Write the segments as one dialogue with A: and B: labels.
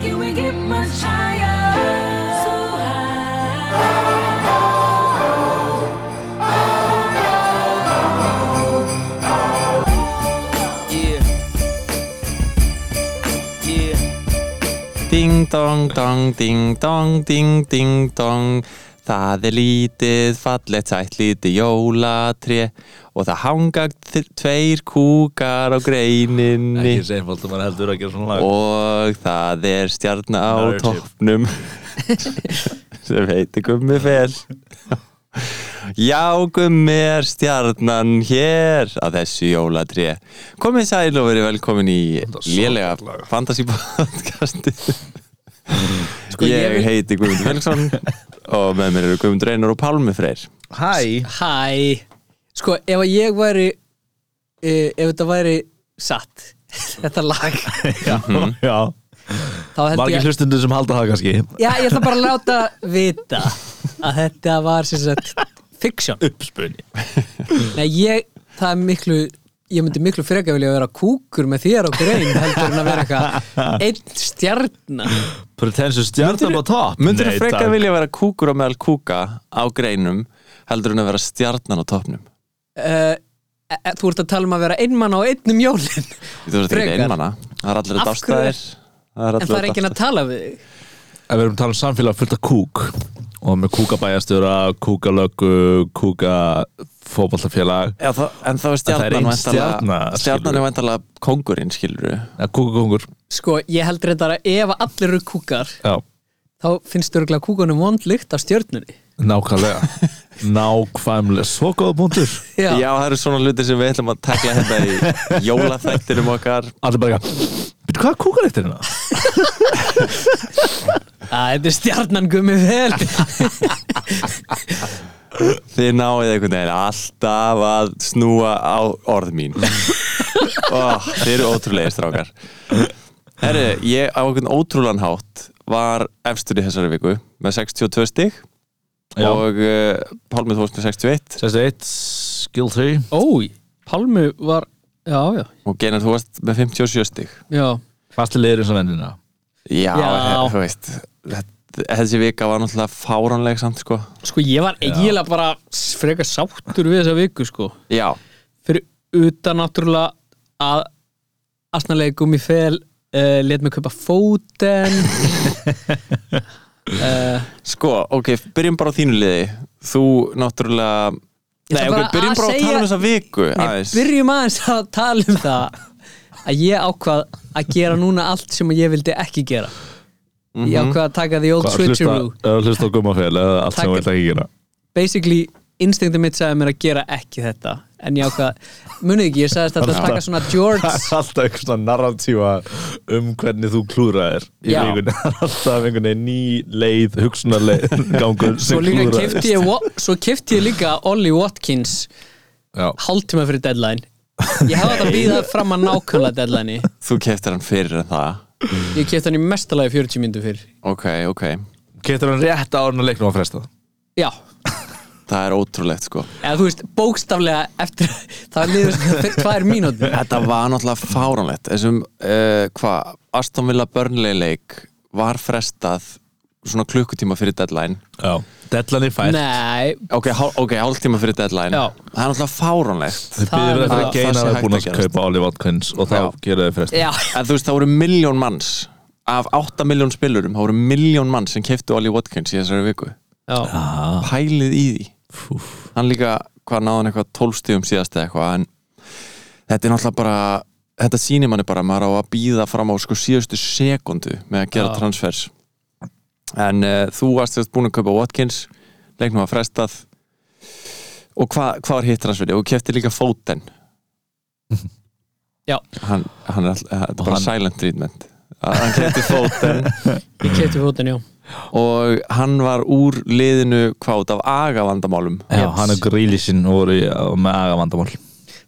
A: Can we get much higher? So high.
B: Yeah. Yeah. Ding dong dong ding dong ding ding dong Það er lítið fallegt sætt lítið jólatré og það hanga þ- tveir kúkar á greininni
C: Ekki sem fólk að maður heldur að gera svona lag
B: og það er stjarn á
C: Narrative.
B: toppnum sem heitir Gummi Fel Já, Gummi er stjarnan hér á þessu jólatré Komið sæl og verið velkomin í lélega fantasy-podcasti
D: Sko, ég
B: Ég
D: vil-
B: heiti Guðmundur Felixson og með mér eru Guðmundur Einar og Pálmi Freyr
C: Hæ
D: Hæ Sko, ef að ég væri uh, ef þetta væri satt þetta lag,
C: Já
D: þá held
C: Margir
D: ég
C: hlustundur sem halda það kannski
D: Já, ég ætla bara að láta vita að þetta var sem sagt fiction.
C: Uppspunni
D: Nei, ég, það er miklu ég myndi miklu frekar vilja vera kúkur með þér og grein heldur en að vera eitthvað einn stjarnar
C: Pretensu stjarnan á topp
B: Mundur
C: Nei,
B: þú frekar
C: takk.
B: vilja vera kúkur á meðal kúka á greinum heldur en að vera stjarnan á toppnum
D: uh, Þú ert að tala um að vera einmann á einnum jólin
B: Þú veist ekki
D: Frekar.
B: einmana Það er allir að
D: Af hverju er-
B: dástaðir Það
D: en
B: er allir
D: það er
B: að
D: enginn að tala við þig
C: Ef við erum að tala um samfélag fullt af kúk og með kúkabæjastjóra, kúkalöggu, kúkafóballafélag
B: Já, það, en þá er
C: það er
B: stjarnan
C: ein
B: væntanlega-
C: stjarna,
B: Stjarnan er
C: skilurðu.
B: væntalega kongurinn, skilur
C: kúkakongur
D: Sko, ég heldur þetta að ef að allir eru kúkar
C: Já,
D: þá finnst örgulega kúkunum vond lykt af stjörnunni
C: nákvæmlega Nákvæmlega, svo góða búndur
B: Já. það eru svona hluti sem við ætlum að tekla hérna í jólaþættinum okkar
C: Allir bara Býttu hvað kúkar eftir hérna?
D: Að þetta er stjarnan gummi vel
B: Þið náið einhvern veginn alltaf að snúa á orð mín Ó, Þið eru ótrúlegir strákar Herri, ég á einhvern ótrúlan hátt var efstur í þessari viku með 62 stig
C: Já.
B: og uh, Pálmið Þórs með 61
C: Sestu eitt, skill 3
D: Ói, Palmu var Já, já,
B: og Genar þú varst með 57 stig
D: já
C: Fasti liður eins og vendina
B: Já,
D: Já.
B: þú veist þetta- þessi vika var náttúrulega fáránleg samt sko.
D: Sko, ég var eiginlega bara frekar sáttur við þessa viku, sko
B: Já,
D: Fyrir utan náttúrulega að asnalegi gummi fel uh, let mig kaupa fóten uh,
B: sko, ok, byrjum bara á þínu liði Þú náttúrulega
D: Ég ætla
B: Nei,
D: bara
B: ok, byrjum
D: að
B: bara á að
D: segja-
B: tala um þessa viku
D: Nei,
B: aðeins.
D: byrjum aðeins að tala um það að ég ákvað að gera núna allt sem ég vildi ekki gera Ég ákvað að taka the old switcheroo
C: Mhm. Hlusta á gummafél eða allt sem
D: Takk.
C: við ætla ekki gera
D: basically instinctið mitt sagði mér að gera ekki þetta en ég ákvað, munið ekki, ég sagðist alltaf að taka svona George
C: Það er alltaf eitthvað svona narratífa um hvernig þú klúðraðir í
D: Já.
C: vikunni. Það er alltaf einhvern veginn ný leið, hugsunarleið gangur
D: svo
C: sem
D: líka
C: klúðraðist.
D: kefti ég, Wa- svo kefti ég líka Ollie Watkins
C: Já.
D: hálftíma fyrir deadline ég hefði þetta að býða fram að nákvæmlega deadline
B: Þú keftir hann fyrir en það
D: ég kefti hann í mestalagi 40 myndu fyrir
B: Ok, ok,
C: Keftir hann rétt árun að leiknum að fresta.
D: já,
B: það er ótrúlegt sko
D: eða þú veist, bókstaflega eftir, það liður svona tvær mínútur
B: Þetta var náttúrulega fáránlegt Þessum, uh, hvað, Aston Villa Burnley leik var frestað svona klukkutíma fyrir deadline
C: Já. Dellan í fært.
D: nei,
B: Ok, hál, okay hálftíma fyrir deadline
D: Já.
B: Það er náttúrulega fáránlegt
C: Þið
D: það er
C: byrjuðu eftir
B: nefnilega-
C: að geina
B: það sé
C: það
B: hægt
C: búin
B: að
C: að
B: gerast.
C: kaupa Olive Watkins og þá
B: Já.
C: gera þið fresta.
D: já,
B: En þú veist, það voru miljón manns af 8 miljón spilurum, það voru miljón manns sem keftu Ollie Watkins í þessari viku
D: já,
B: Pælið í því Hann líka, hvað náðan eitthvað 12 stífum síðast eða eitthvað en þetta er náttúrulega bara þetta sýnir manni bara, maður á að býða fram á sko síðustu sekundu með að gera
D: Já.
B: transfers en uh, þú varst þess búin að kaupa Watkins leiknum að frestað og hva, hvað var hitt transferið? og kefti líka Foden
D: Já.
B: hann, hann er, all, eh, þetta er bara
C: hann-
B: silent treatment Að hann kefti Foden
D: ég kefti fótinn, já
B: og hann var úr liðinu hvað út af agavandamálum
C: Já,
D: Yes.
C: hann og grílisinn voru í- með agavandamál.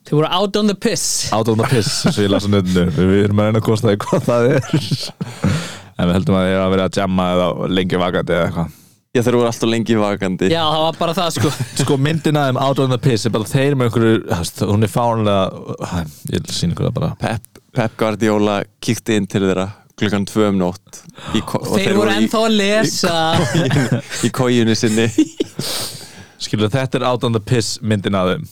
D: þau voru out on the piss
C: Ádóna piss, svo ég las á nöndinu. Við erum að reyna að kosta því hvað það er. En við heldum að það er að vera að jamma eða lengi vakandi eða eitthvað.
B: Já, þeir voru alltaf lengi vakandi
D: já, það var bara það sko
C: sko myndin aðeim Out on the Piss er bara þeir með einhverju hefst, hún er fárlega ég vil sína ykkur það bara
B: Pep, Pep Guardiola kíkti inn til þeirra klukkan tvö um nótt í, ko- og
D: Þeir voru ennþá að lesa
B: í, í kójunni sinni
C: Skilur þetta er out on the piss myndin að þeim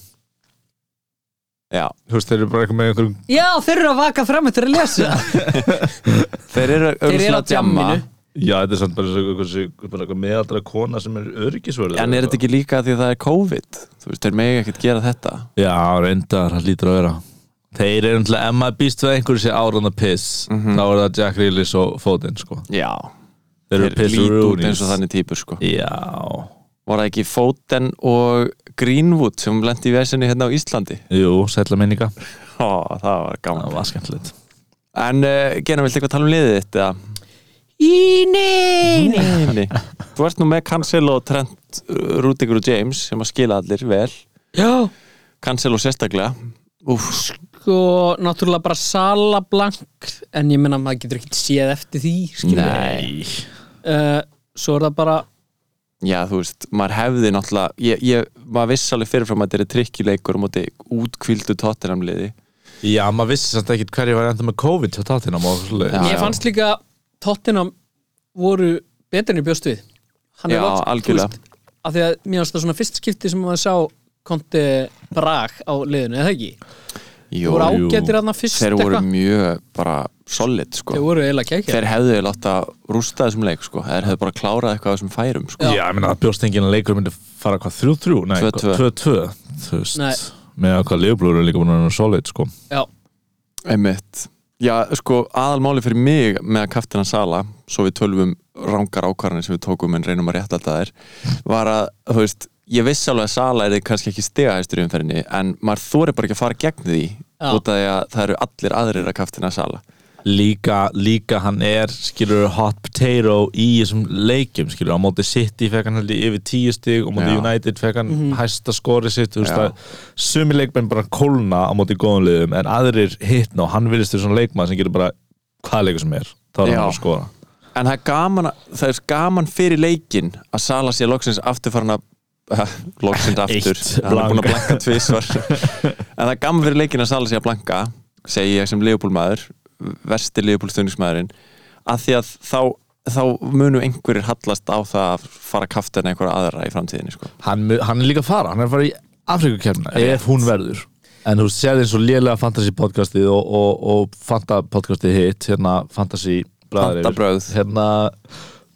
B: Já,
C: Þú veist, þeir eru bara eitthvað með einhverjum
D: Já, þeir eru að vaka fram eftir að lesa
B: þeir eru
D: Þeir eru
B: auðvitað
D: á
B: að djamma
D: djamminu.
C: Já, þetta er samt bara svo- eitthvað svo- bara eitthvað meðaldra kona sem er öryggisvörður
B: En er þetta ekki líka því að það er COVID Þú veist, þeir megi ekkert gera þetta
C: Já, reyndar, það lítur að vera Þeir eru náttúrulega, ef maður býst við einhverju sé out on the piss
B: Mhm.
C: þá er það Jack Reelis og Foden sko.
B: Já,
C: Þeir eru
B: þeir
C: piss
B: lít út
C: Rooney
B: eins og þannig típur sko
C: Já,
B: Var það ekki Foden og Greenwood sem lendi í vesinni hérna á Íslandi
C: jú, sætla minninga
B: Ó, það var gaman
C: Það var skemmtilegt
B: En uh, Gerðan, viltu eitthvað tala um liðið þitt? eða?
D: Í neini
B: Nei, nei Þú ert nú með Cancelo, Trent, uh, Rudiger og James sem að skila allir vel
D: Já,
B: Cancelo sérstaklega Úf,
D: sko, náttúrulega bara salablank en ég menna maður getur ekkert séð eftir því skilur við.
B: nei
D: uh, Svo er það bara
B: Já, þú veist, maður hefði náttúrulega ég, ég, maður viss alveg fyrirfram að þetta er trikkileikur á móti útkvildu tottenhamliði
C: Já, maður vissi samt ekkit hverju var enda með COVID hjá tattina
B: Já,
D: Ég
B: já.
D: fannst líka Tottenham voru betur en ég bjóst við Hann er
B: Já,
D: loks- þú
B: algjörlega.
D: veist, Af því að mér finnst það svona fyrst skipti sem maður sá konti brak á liðinu, eða ekki? Þeir
B: Jú,
D: voru
C: jú.
D: ágættir aðna fyrst
B: þeir voru
D: eitthvað.
B: mjög bara solid, sko
D: Þeir voru eiginlega kækja
B: Þeir hefðu látt að rústa þessum leik, sko Þeir hefðu bara klárað eitthvað af þessum færum, sko
C: Já, ég meina að bjóst enginn að leikur myndi fara hvað 3-3, nei,
B: 2-2.
C: 2-2 Þú
D: Nei.
C: veist, með að hvað liðblúður er líka búin að vera solid, sko
D: Já,
B: Einmitt Já, sko, aðalmáli fyrir mig með að kaftina Sala, svo við tölvum rangar ákvarðanir sem við tókum en reynum að rétta þetta þær var að, þú veist ég vissi alveg að Sala er kannski ekki stegahæstur í umferðinni, en maður þóri bara ekki að fara gegn því,
D: Já.
B: út af því að það eru allir aðrir að kaftina Sala
C: Líka, líka hann er, skilur hot potato í þessum leikjum skilur, á móti City fekk hann heldur yfir 10 stig og móti
B: Já.
C: United fekk hann hæsta skori sitt, þú veist
B: Já.
C: að sumi leikmenn bara kólna á móti góðum liðum en aðrir hittna og hann virðist þessum leikmann sem getur bara hvaða leikur sem er þá er hann
B: Já.
C: bara að skora
B: En það er gaman, að- það er gaman fyrir leikin að Sala sé loksins aftur farin að loksins aftur,
C: Eitt,
B: hann er búin að
C: blank.
B: blanka tvisvar en það er gaman fyrir leikin að Sala sé að blanka segi ég sem liðbúlmaður versti liðbúlstuðningsmaðurinn að því að þá, þá munu einhverjir hallast á það að fara að kafta en einhverja aðra í framtíðinni sko.
C: hann, mu- hann er líka að fara, hann er að fara í Afrikakefna ef hún verður en þú séð eins og lélega fantasy podcastið og, og, og fanta podcastið hitt hérna fantasy bræðarir.
B: Fantabrögð.
C: hérna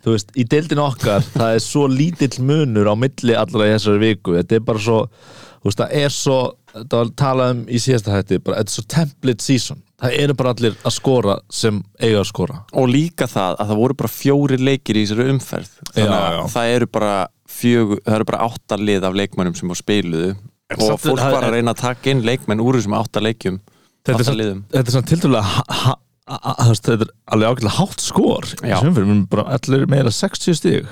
C: þú veist, í deildin okkar það er svo lítill munur á milli allra í þessari viku þetta er bara svo, þú veist, það er svo það var talað um í síðasta hætti bara, þetta er svo template season það eru bara allir að skora sem eiga að skora
B: og líka það að það voru bara fjóri leikir í þessari umferð þannig
C: Já,
B: að
C: já.
B: það eru bara fjögur, það eru bara átta lið af leikmennum sem á spiluðu og
C: samt-
B: fólk
C: það-
B: var að reyna að taka inn leikmenn úr þessum átta leikjum
C: þetta er
B: átta
C: svona,
B: liðum
C: þetta er svona tildulega þetta er alveg ágætlega hátt skor í
B: Já.
C: þessum fyrir, við erum bara allir meira 60 stig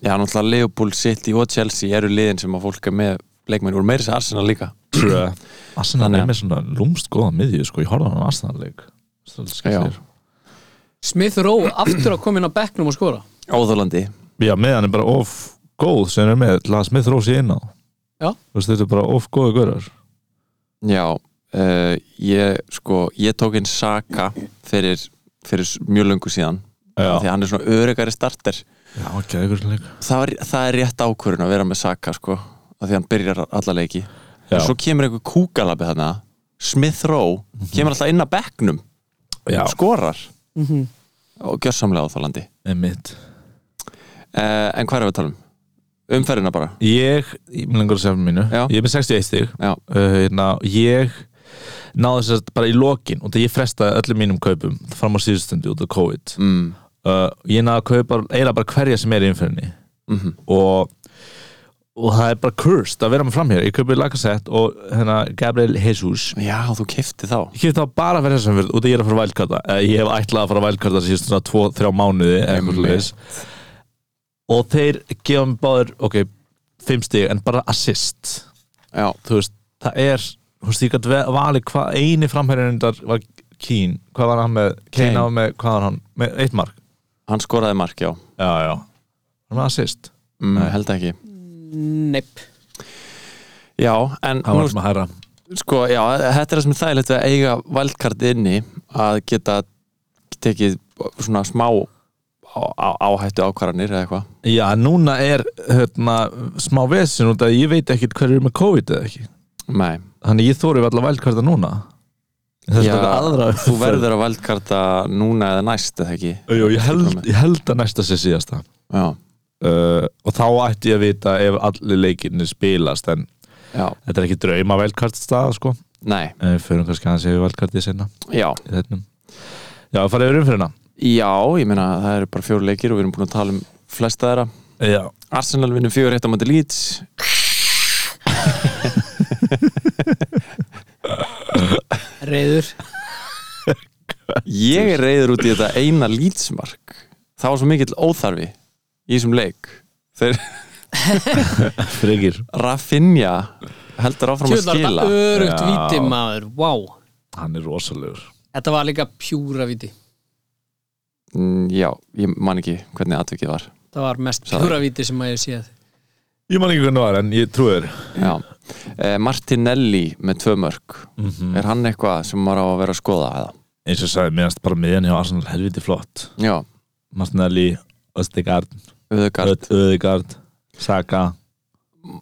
B: Já, náttúrulega Leopold City og Chelsea eru liðin sem að fólk er með leikmenn úr meira sér Arsenal líka Þannig
C: Arsenal
B: að-
C: er með svona lúmst góða miðju sko, ég horfði á hann Arsenal leik
B: Já.
C: já.
D: Smith Rowe aftur að koma inn á bekknum og skora
B: Óþólandi
C: já, meðan er bara of góð sem er með, laða Smith Rose inn á
D: Já.
C: Þú veist, þetta er bara of góða görar
B: Já, uh, ég sko ég tók inn Saka fyrir, fyrir s- mjög löngu síðan af því
C: já,
B: að hann er svona örugari starter
C: já ekki eitthvað leik
B: það, var, það er rétt ákvörun að vera með Saka sko, af því að hann byrjar alla leiki
C: Já.
B: og svo kemur einhver kúkalabi þarna Smith Rowe, kemur alltaf inn að bekknum
C: Mhm. já,
B: skorar og gjörsamlega óþólandi
C: emitt
B: uh, en hvað er við að tala um? Umferðina bara
C: ég, ég með lengur að segja um mínu
B: Já.
C: ég er með 61 stig
B: Já.
C: uh, hérna, ég náði þess að bara í lokin og það ég frestaði öllum mínum kaupum fram á síðustundu út af COVID
B: mm.
C: uh, ég náði að kaupa eiginlega bara hverja sem er í innferðinni
B: Mhm.
C: og og það er bara cursed að vera með fram hér ég kaupi Lacazette og hérna Gabriel Jesus
B: Já, þú kefti þá
C: ég kemur þá bara verið þessum fyrir út að ég er að fara vælkarta ég hef ætlað að fara vælkarta síðust svona 2-3 mánuði eða eitthvað
B: Einmitt.
C: leis og þeir gefa mér báður ok, 5 stig en bara assist
B: Já,
C: þú veist, það er þú veist, ég gætt valið hvað eini framherjarinn þar var Kín, hvað var hann með
B: Kane.
C: Kín á með, hvað var hann, með eitt mark
B: hann skoraði mark, já
C: já, já, hann var assist
B: mm,
C: Nei.
B: Held ekki
D: Neip
B: Já, en
C: hann
B: nú,
C: var sem að herra
B: sko, já, þetta er það sem er þægilegt við að eiga valdkart inni að geta tekið svona smá á- á- áhættu ákvarðanir eða eitthvað
C: Já, núna er hérna, smá vesin út að ég veit ekkit hver er með COVID eða ekki
B: Nei,
C: Þannig ég þóri allavega vældkvarta núna Það er
B: Já,
C: bara aðra
B: þú verður að valdkarta núna eða næst eða ekki
C: Jú, ég held, ég held að næsta sé síðasta
B: Já,
C: uh, og þá ætti ég að vita ef allir leikinni spilast en
B: já,
C: þetta er ekki drauma velkart staða sko
B: nei,
C: en við förum kannski aðeins yfir velkartið sinna
B: já
C: í þettum Já, farið yfir umfyrirna
B: Já, ég meina það eru bara fjóru leikir og við erum búin að tala um flesta þeirra
C: Já,
B: Arsenal vinnur fjóru rétt á mandi Leeds
D: reyður
B: Ég er reyður út í þetta eina Leedsmark Það var svo mikill óþarfi í þessum leik Þeir
C: frekir
B: Rafinha heldur áfram að
D: Tjóðlar
B: skila
D: þetta örugt
C: Já.
D: víti maður Vá,
C: Hann er rosalegur
D: þetta var líka pjúra víti
B: Mm, Já, ég man ekki hvernig atvikið var
D: Það var mest
B: Sorry.
D: pjúra víti sem að ég séð
C: Ég man ekki hvernig var en ég trúi þér
B: Já Eh, Martinelli með tvö mörg
C: Mhm.
B: Er hann eitthvað sem maður á að vera að skoða eða?
C: eins og sagði, meðanst bara miðan hjá Arsenal helviti flott
B: Já,
C: Martinelli, Östegard,
B: auðvitað
C: Öðegard Saka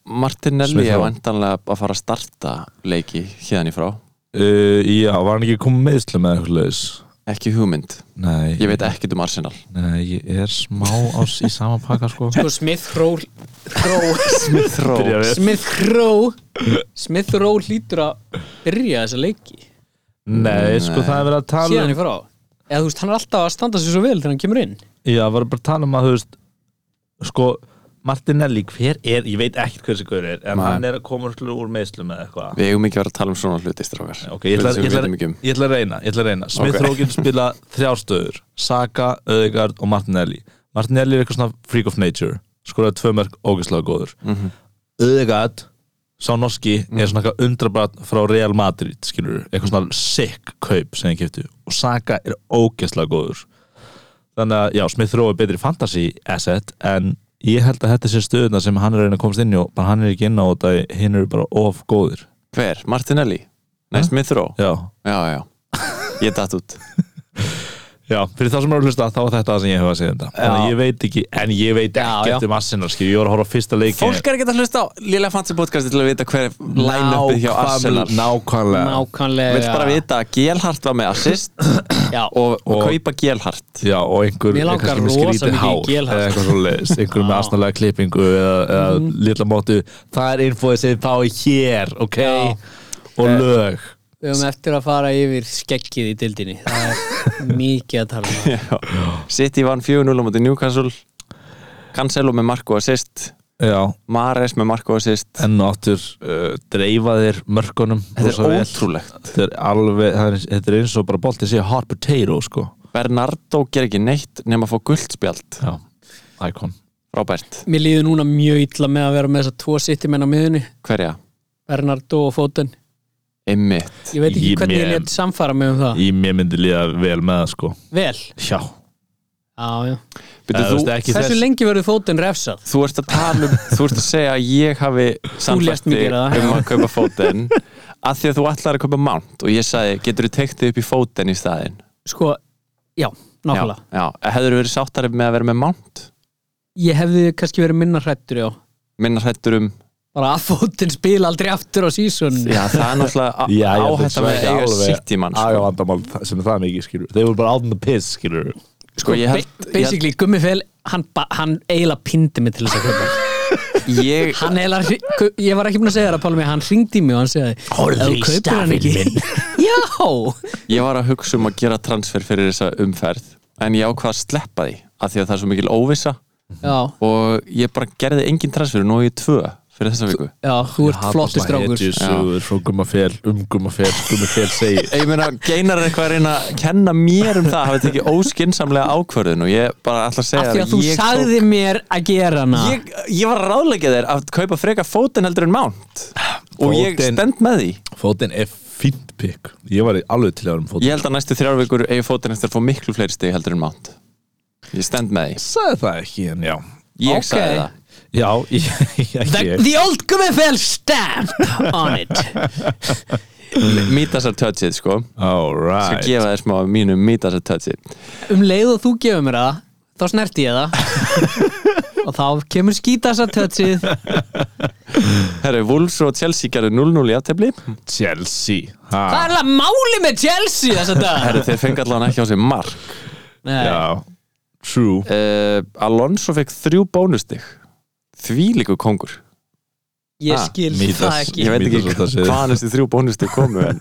B: Martinelli
C: Smith
B: er
C: Rowe.
B: vantanlega að fara að starta leiki hérna í frá
C: uh, Já, var hann ekki komið meðslu með eitthvað laus
B: Ekki hugmynd,
C: Nei,
B: ég veit ekkert um Arsenal
C: Nei, ég er smá ás í sama pakka sko
D: Sko Smith Rowe Rowe-
B: Smith Rowe
D: Smith Rowe Smith Rowe hlýtur að byrja þessa leiki
C: Nei, sko
B: Nei.
C: það er verið að tala um-
D: síðan í frá eða þú veist, hann er alltaf að standa sér svo vel þegar hann kemur inn
C: Já, það var bara að tala um að þú veist sko, Martinelli, hver er ég veit ekkert hver þessi gaur er en
B: Nei.
C: hann er að koma úr, úr meðslu með eitthvað
B: Við eigum ekki að vera að tala um svona hluti strákar
C: Ok, ég ætla,
B: Hluti sem
C: ég,
B: við
C: ætla,
B: vitum ekki um.
C: ég ætla að reyna, ég ætla að reyna Smith
B: Ok.
C: okay. Rókin spila þrjástöður Saka, Öðegard og Martinelli Martinelli er eitthvað svona freak of nature skoraði tvö mörg ógeðslega góður
B: Mhm.
C: Öðegard, sá norski er svona eitthvað undrabrat frá Real Madrid skilur, eitthvað svona sick kaup sem ég kefti og Saka er ógeðslega góður þannig að já, Smith Rowe er betri fantasy asset en ég held að þetta sé stöðuna sem hann er að reyna að komast inn í og bara hann er ekki inn á þetta hinn eru bara of góðir
B: Hver? Martinelli? Nei, Smith Rowe?
C: já,
B: Já, já, ég datt út
C: Já, fyrir það sem eru að hlusta þá var þetta það sem ég hef að segja um þetta Þannig að ég veit ekki, en ég veit
D: já.
C: ekkert um Arsenal skil, ég var að horfa á fyrsta leiki
B: Fólk er ekki að hlusta á Lilla Fancy podcasti til að vita hver line-upið hjá Arsenal
C: Nákvæmlega
D: nákvæmlega
B: Vill bara vita að Gelhart var með assist
D: já,
B: og, og
C: Og-
B: kaupa Gelhart
C: Já, og einhver
D: Mér langar
C: kannski með
D: rosa
C: skrítið
D: mikið í
C: hár
D: Gelhart.
C: eða eitthvað svo leiðis, einhver með asnalega klippingu eða, eða
D: Mhm.
C: litla mótu það er infóið sem þá er hér ok,
D: Já. Eh.
C: og lög
D: við höfum eftir að fara yfir skeggið í dildinni það er mikið að tala um
B: City vann 4-0 á móti Newcastle Cancelo með Marko assist
C: Já,
B: Mares með Marko assist
C: enn og áttur uh, dreifaðir mörkunum
B: Þetta
C: rosa
B: er
C: vel.
B: ótrúlegt
C: Þetta er alveg, það er, þetta er eins og bara boltið sé hot potato sko
B: Bernardo ger ekki neitt nema að fá guldspjald
C: Já, icon
B: Robert,
D: mér líður núna mjög illa með að vera með þessa tvo sittimenn á miðunni
B: hverja?
D: Bernardo og Fóten
B: Emmitt
D: ég veit ekki
C: Ég
D: hvernig ég
C: mér-
D: létt samfara mig um það
C: Í mér myndi líða vel með það sko
D: vel,
C: Já
D: já, já.
C: Eða,
B: þú,
C: veistu, ekki
D: hversu
C: þess-
D: lengi verður Fóten refsað?
B: þú ert að tala um, þú ert að segja að ég hafi
D: lést mig
B: samfætti
D: gera það,
B: um að kaupa fóten að því að þú ætlar að kaupa mount og ég sagði, getur þú teikt þig upp í fóten í staðinn
D: sko, já,
B: já,
D: nákvæmlega
B: já, hefur þú verið sáttari með að vera með mount
D: ég hefði kannski verið minna hrættur já
B: minna hrættur um,
D: bara að fótinn spila aldrei aftur á sísun
B: já það er náttúrulega á- áhætt að vera eiga sitt í mann
C: Aga
B: sko.
C: vandamál sem er það mikið skilur Þeir voru bara out in the piss skilur
B: sko ég held,
D: Ba- basically, Gummi Fel hann, ba- hann eiginlega pindi mig til þess að köpa
B: ég, ég,
D: hann eiginlega, hri- gu- ég var ekki búin að segja það Pálmi, hann ringdi í mig og hann segði
C: Horfðu
D: "Ef þú
C: í
D: kaupir hann
C: stafinn
D: ekki-
C: minn."
D: já,
B: ég var að hugsa um að gera transfer fyrir þessa umferð en ég ákvað að sleppa því að því að það er svo mikil óvissa
D: já,
B: og ég bara gerði engin transfer og nú er ég tvö fyrir þessa viku
D: já þú ert flottur strákur
C: Hetjusögur frá gummafél, um gummafél, gummafél segir
B: Ég meina, geinar er eitthvað að reyna að kenna mér um það að hafa tekið óskinsamlega ákvörðun og ég bara ætla að segja
D: af því að þú
B: ég,
D: sagði mér að gera hana
B: tók, ég, ég var að ráðleggja þér að kaupa freka fótinn heldur en mánt og ég
C: Fótinn.
B: stend með því
C: Fótinn er fínt pikk Ég var í alveg til að vera um fótinn
B: Ég held að næstu þrjár vikur eigi fótinn eftir að fá miklu fleiri stig heldur en mánt Ég stend með því
C: sagði það ekki en já
B: Ég
D: Ok.
B: sagði það
C: Já, ég, ég,
D: the,
C: ég,
D: the old Gummi Fel stamp on it
B: mítasar touchið sko Svo
C: Alright
B: gefa þér smá af mínu mítasar touchið
D: um leið og þú gefur mér það þá snerti ég það og þá kemur skítasa tötsið
B: Herru, Wolves og Chelsea gerðu 0-0 í aftefli
C: Chelsea
D: hvað
C: ha,
D: er það máli með Chelsea þess að
B: Herru, þeir fengi allavega ekki á sig mark
D: dag
C: Já, true
B: uh, Alonso fekk þrjú bónustig Því líku kongur
D: ég
B: Ah,
D: skil
C: Midas.
D: það ekki
B: Ég veit ekki
C: Mítas og það segir.
B: hvaðan þessi þrjú bónustig komu En,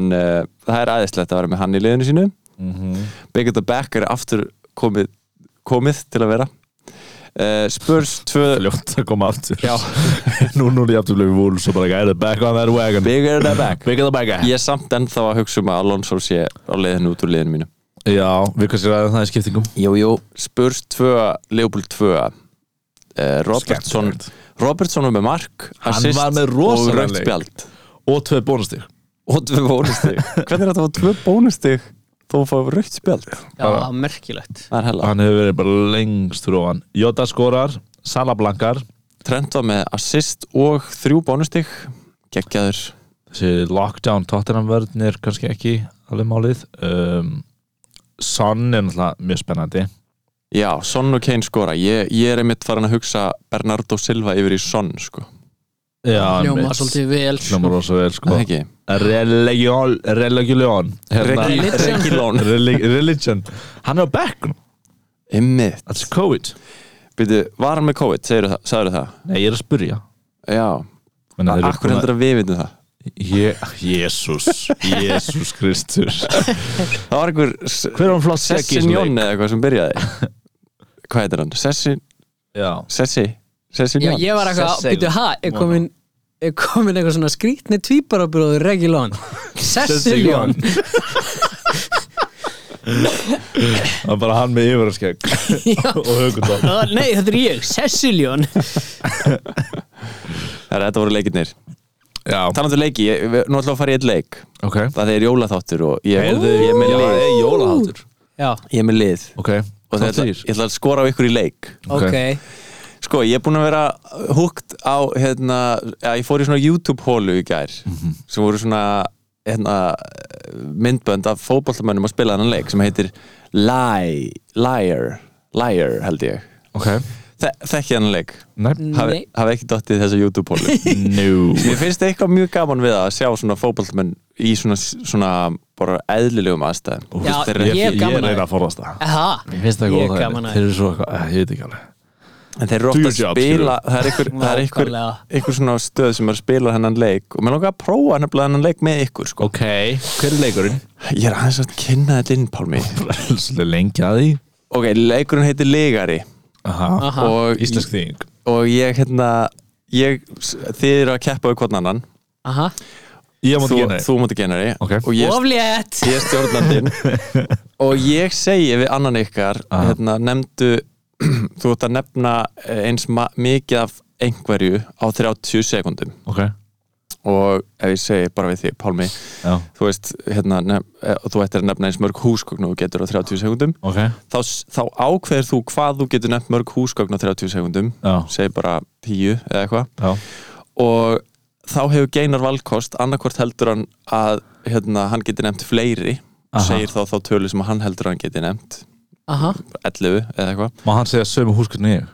B: en uh, það er aðeinslegt að vera með hann í liðinu sínu
C: mm
B: Big at the back er aftur komið, komið til að vera uh, Spurs 2
C: Ljótt að koma aftur
B: Já.
C: Nú núna ég aftur bleið vúl Svo bara gæði back on that wagon
B: Big at the back
C: Big in the back
B: Ég er samt ennþá að hugsa um að Alonso sé á leiðinu út úr liðinu mínu
C: Já, við kannski ræðum það í skiptingum
B: Jú, jú Spurs 2, Leopold 2 uh, Robertson
C: Skemmtilegt.
B: Robertson var með mark
C: Hann
B: assist
C: var með
B: og
C: rosalega
B: rautt
C: leik.
B: spjald
C: Og tvei bónustík
B: og tvö bónustig hvernig er þetta að fá tvö bónustig þó að fá rautt spjald
D: já, það var merkilegt
B: það er hella
C: Hann hefur verið bara lengst fyrir ofan Jota skórar, Sala blankar
B: Trent var með assist og þrjú bónustig geggjaður
C: Þessi lockdown Tottenham vörðin er kannski ekki alveg málið um, Son er náttúrulega mjög spennandi
B: já, Son og Kane skora ég, ég er einmitt farin að hugsa Bernardo Silva yfir í Son sko
C: Já,
D: hljóma
C: einmitt.
D: svolítið vel
C: Hljómar rosa vel sko
B: það ekki
C: Religion Religion
B: Regi-
C: hérna,
D: Religion.
B: Regilón
C: Reli- Religion Hann er á bekknum
B: ymmið
C: That's COVID
B: Býtu, var hann með COVID, segirðu það, sagðirðu það?
C: Nei, ég er að spurja
B: Já,
C: Menna, þeir eru
B: akkur
C: búin að-
B: heldur að við veitum það?
C: Ég- Jésús Jésús Kristur
B: Það var einhver
C: Hver var hann flott seggi í þessum
B: Sessinjón eða eitthvað sem byrjaði Hvað heitir hann? Sessi,
C: Já
B: Sessi,
D: já,
B: Sessinjón
D: ég var eitthvað,
C: Sessegon.
D: býtu, ha, er komin er komin eitthvað svona skrítni tvíbarabróður Regilón Sessiljón
C: Það er bara hann með yfirarskegg og högundar
D: Uh, nei, þetta er ég, Sessiljón
B: Þetta voru leikirnir
C: Já,
B: Talandi um leiki, ég, við- nú ætlum við að fara í eitt leik
C: ok
B: Það er jólaþáttur og ég,
C: Heyrðu,
B: ég er með
C: já,
B: lið
C: er jólaháttur
D: já,
B: Ég er með lið
C: Ok,
B: Og það er, ég ætla að skora á ykkur í leik
C: Ok.
D: ok
B: Sko, ég er búin að vera húgt á hérna, ja, ég fór í svona YouTube-hólu í gær sem voru svona hérna, myndbönd af fótboltamönnum að spila þennan leik sem heitir Lie, Liar Liar held ég
C: Ok
B: Þe, Þekki þennan leik
C: Nei
B: hafi,
D: Nei.
B: hafi ekki dottið þessa YouTube-hólu
C: Nú
B: Mér finnst eitthvað mjög gaman við það að sjá svona fótboltamenn í svona, svona bara eðlilegum aðstæðum Þú
D: Já,
B: veist, þeir eru
D: ég
B: ekki-
D: hef gaman
C: Ég
D: að
C: reyna
D: því.
C: að forðast það
D: Aha,
C: Ég finnst það
D: ég
C: góð
D: er
C: það
D: gaman að
C: Þeir eru svo eitthvað, eh, ég veit ekki alveg
B: En þeir eru
C: Do
B: ofta
C: your
B: að
C: job,
B: spila Það er einhver, það er einhver,
D: Nákvæmlega.
B: einhver svona stöð sem er að spila hennan leik og mér langar að prófa nefnilega hennan leik með ykkur sko.
C: Ok, hver er leikurinn?
B: Ég er aðeins að kynna þetta inn, Pálmi
C: Svolítið lengi að því
B: Ok, leikurinn heitir Ligari
C: Aha,
D: Aha.
B: og,
C: íslensk þýðing
B: og ég hérna ég, þið eru að keppa við hvern annan
D: Aha,
C: Ég
B: þú,
C: mátti genið
B: þú mátti genari
C: Ok.
B: og ég,
D: oflétt
B: ég er stjórnandinn og ég segi við annan ykkar
C: Aha.
B: hérna, nefndu þú ert að nefna eh, eins ma- mikið af einhverju á 30 sekundum
C: Ok,
B: og ef ég segi bara við þig, Pálmi
C: já,
B: þú veist, hérna, nef, eh, þú ættir að nefna eins mörg húsgögn og þú getur á 30 sekundum
C: ok
B: þá, s- þá ákveður þú hvað þú getur nefnt mörg húsgögn á 30 sekundum
C: Já,
B: segi bara 10 eða eitthvað
C: já
B: og þá hefur geinar valkost annarkvort heldur hann að hérna, hann getur nefnt fleiri og
C: Aha.
B: segir þá þá tölu sem hann heldur að hann getur nefnt
D: Aha,
B: 11 eða eitthvað
C: Má hann segja sömu húskunni ég?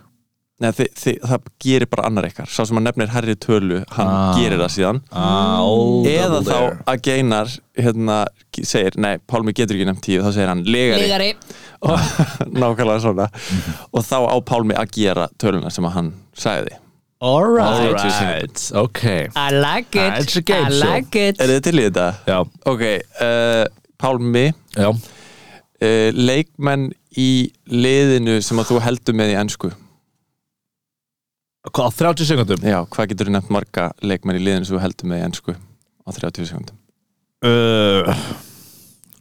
B: Nei, þi, þi, það gerir bara annar ykkar sá sem hann nefnir herri tölu, hann
C: Ah.
B: gerir það síðan
C: Ah,
B: eða þá að Geinar hérna, segir, nei, Pálmi getur ekki nefnt tíu þá segir hann legari,
D: legari
B: og, nákvæmlega svona og þá á Pálmi að gera töluna sem að hann sagði
D: Alright,
C: Alright, ok
D: I like it
C: Ah, it's a game
D: I
C: show.
D: like it
B: Er þið til í þetta?
C: Já,
B: Ok, uh, Pálmi
C: já
B: uh, leikmenn í liðinu sem að þú heldur með í ennsku
C: Hvað, á 30 sekundum?
B: Já, hvað getur þú nefnt marga leikmenn í liðinu sem þú heldur með í ennsku á 30 sekundum?
C: Uh,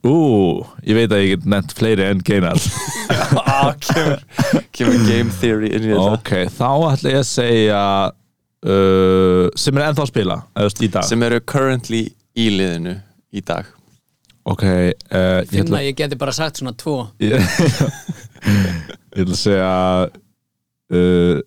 C: ú, ég veit að ég get nefnt fleiri en geinar
B: Ah, kemur, kemur game theory inn í þetta
C: Ok, þá ætla ég að segja uh, sem er ennþá að spila eða þú veist, í dag
B: sem eru currently í liðinu í dag
C: Ok, uh, ég
D: Finn
C: ætla
D: að ég geti bara sagt svona tvo
C: ég, ég ætla að segja uh,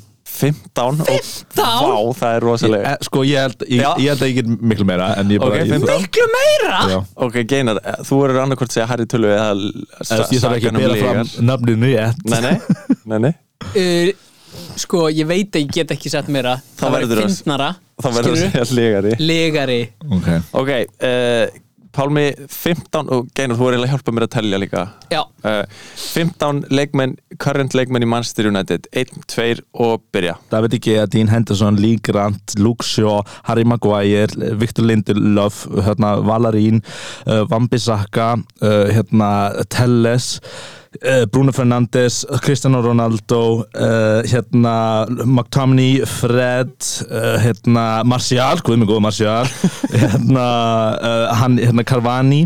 B: 15
D: 15?
B: og, Vá, það er
C: ég,
B: rosalega
C: eh, Sko, ég held, ég,
B: Já.
C: ég held að ég get miklu meira En ég
B: Ok,
C: bara ég,
B: 15.
D: Miklu meira
C: Já.
B: Ok, Geinar, eh, þú verður annarkvort segja Harry Tullu eða
C: Eða,
B: sa-
C: Ég þarf
B: sakan
C: ekki að
B: um
C: bera
B: lygar.
C: fram nafninu rétt
B: Nei, nei, nei, nei
D: uh, Sko, ég veit að ég get ekki sett meira Það
B: verður
D: væri
B: að-
D: fyndnara
B: Þá verður að
D: skilurðu?
B: segja legari
D: Ligari
C: Ok
B: Ok, uh, Pálmi 15 og Geinar, þú er eiginlega að hjálpa mér að telja líka
D: Já,
B: uh, 15 leikmenn, current leikmenn í Manchester United 1, 2 og byrja
C: David Igea, Dean Henderson, Lee Grant, Luke Shaw, Harry Maguire, Victor Lindelöf, hérna, Valarín, uh, Vambi Saka, uh, hérna, Telles, uh, Bruno Fernandes, Cristiano Ronaldo, uh, hérna, McTominay, Fred, uh, hérna, Martial, hvað er mjög góð Martial, hérna, uh, hann, hérna, Carvani,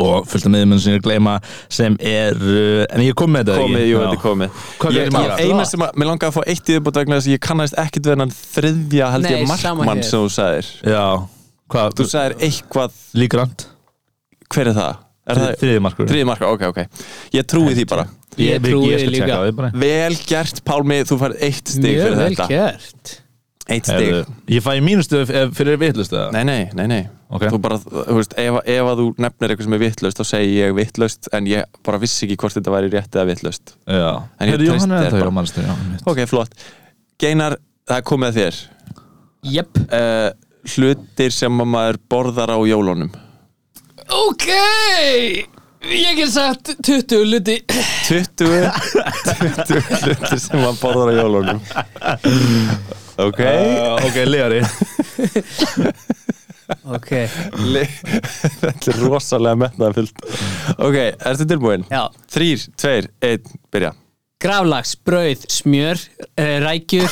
C: og fullt af miðjumennum sem ég er að gleyma sem er, uh, en ég kom með þetta
B: komið, jú,
C: ekki? Já.
B: þetta er komið
C: Hvað
B: ég,
C: gerir
B: ég,
C: maður?
B: eina sem að, mér langaði að fá eitt í þiðbútt vegna þess að ég kannast ekkit við hennan þriðja held ég
D: Nei, sama
B: markmann
D: hér.
B: sem þú sagðir
C: Já, hvað,
B: þú sagðir eitthvað,
C: Lee Grant?
B: hver er það? Er það
C: þriði markur
B: þriðja marka, ok, ok, ég trúi því bara
D: Ég trúi því líka.
C: á því bara
B: vel gert Pálmi, þú færð eitt stig
D: mjög
B: fyrir
D: vel
B: þetta
D: gert
B: eitt stig
C: Heyrðu, ég fæ mínustu fyrir vitlustu
B: Nei, nei, nei, nei
C: Ok.
B: Þú bara, þú veist, ef, ef að þú nefnir eitthvað sem er vitlaust þá segi ég vitlaust en ég bara vissi ekki hvort þetta væri rétt eða vitlaust
C: já
B: En ég
C: Heyrðu, jú,
B: treysti
C: hann er
B: þér
C: ennþá
B: bara.
C: hjá mannstu já, einmitt.
B: Ok, flott Geinar, það er komið að þér
D: Jep
B: uh, Hlutir sem að maður borðar á jólunum
D: Ok Ég get sagt 20 luti
B: 20 20 hlutir sem maður borðar á jólunum Ok
C: Eh, ok, Leari
D: Ok,
B: Le- Þetta er rosalega metnaðfyllt Ok, ertu tilbúin?
D: já
B: Þrýr, tveir, einn, byrja
D: Graflags, brauð, smjör, uh, rækjur,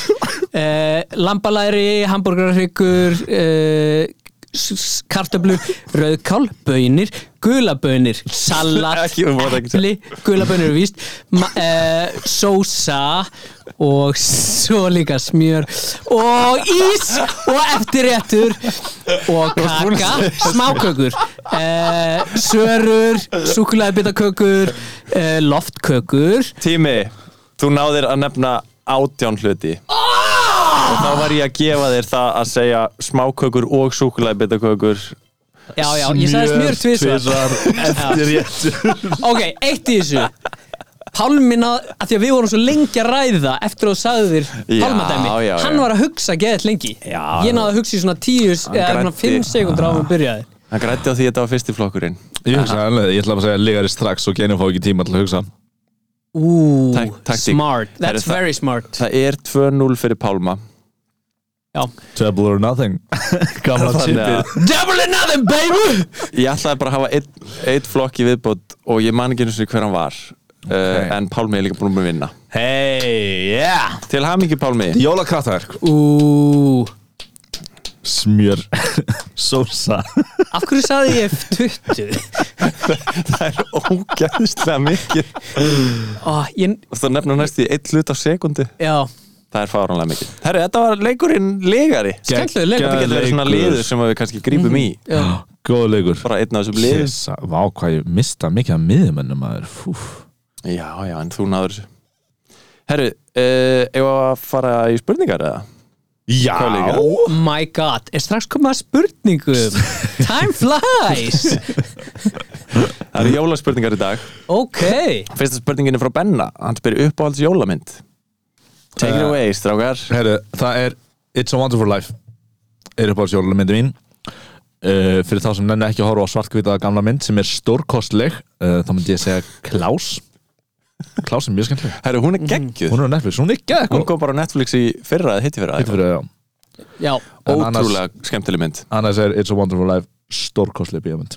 D: uh, lambalæri, hambúrgarhryggur, uh, kartöflur, rauðkál, bönir, gulabönir, salat,
B: Ekki, þú mátt ekki segja.
D: epli, gulabönir er víst, uh, sósa og svo líka smjör og ís og eftirréttur og kaka, smákökur, uh, sörur, súkulæðbitakökur, uh, loftkökur,
B: Tími, þú náðir að nefna átján hluti og þá var ég að gefa þér það að segja smákökur og súkulæðbitakökur
D: Já, já, ég sagði smjör tvisvar
C: eftir rétt
D: Ok, eitt í þessu Pálmina, að því að við vorum svo lengi að ræða eftir að þú sagðir
B: Já,
D: pálmadæmi
B: já,
D: hann
B: já.
D: var að hugsa geðið lengi
B: Já.
D: ég náði að hugsa í svona tíu eða svona
B: græddi.
D: fimm sekundur á að byrjaði
B: Hann grætti á því að þetta var fyrsti flokkurinn
C: ég hugsa alveg ég ætla bara að segja Leari strax og genið fá ekki tíma til að hugsa
D: Ú,
B: Tak- taktík.
D: smart,
B: Herru,
D: that's
B: það-
D: very smart
B: Það er 2-0 fyrir Pálma
D: Já.
C: Double or nothing gamla
B: Þannig
C: chipið
B: að
D: Double or nothing, baby
B: ég ætlaði bara að hafa einn ein flokk í viðbót og ég man ekki eins og hver hann var okay. en Pálmi er líka búin að vinna
C: hey, yeah
B: Til hamingi Pálmi
C: jólakrattark
D: Ú,
C: smjör sósa
D: af hverju sagði ég 20?
B: Það er ógæðislega mikið
D: Ó, ég,
B: og það nefna næst í einn hlut á sekundi
D: já,
B: Það er fáranlega mikið Herru, þetta var leikurinn legari
D: skemmtilega leik
B: Þetta getur verið svona
C: Leikur.
B: liður sem að við kannski grípum í
D: Já,
C: góð leikur
B: bara einn af þessum liðum
C: Sissa, vá hvað ég mista mikið af miðumennum maður Fúf.
B: Já, já, en þú náður þessu Herru, uh, ef að fara í spurningar eða?
C: Já
B: Hvað leikur?
D: Oh my god, er strax komið að spurningum Time flies
B: Það eru jólaspurningar í dag
D: Ok,
B: Fyrsta spurningin er frá Benna, hann spyr uppáhalds jólamynd Take it
C: Eh.
B: away, strákar
C: Herru, það er It's a Wonderful Life er upp á sjólumyndi mín uh, fyrir þá sem nenni ekki að horfa á svartkvitaða gamla mynd sem er stórkostleg uh, þá myndi ég segja Klaus Klaus er mjög skemmtileg
B: Herru, hún er geggjuð
C: hún er á Netflix, hún er ekki
B: Hún
C: eitthvað
B: kom bara á Netflix í fyrra, hitti fyrra
C: Þetta fyrir, já.
D: já
C: En annars-
B: Ótrúlega skemmtileg mynd
C: annars er It's a Wonderful Life stórkostleg bíómynd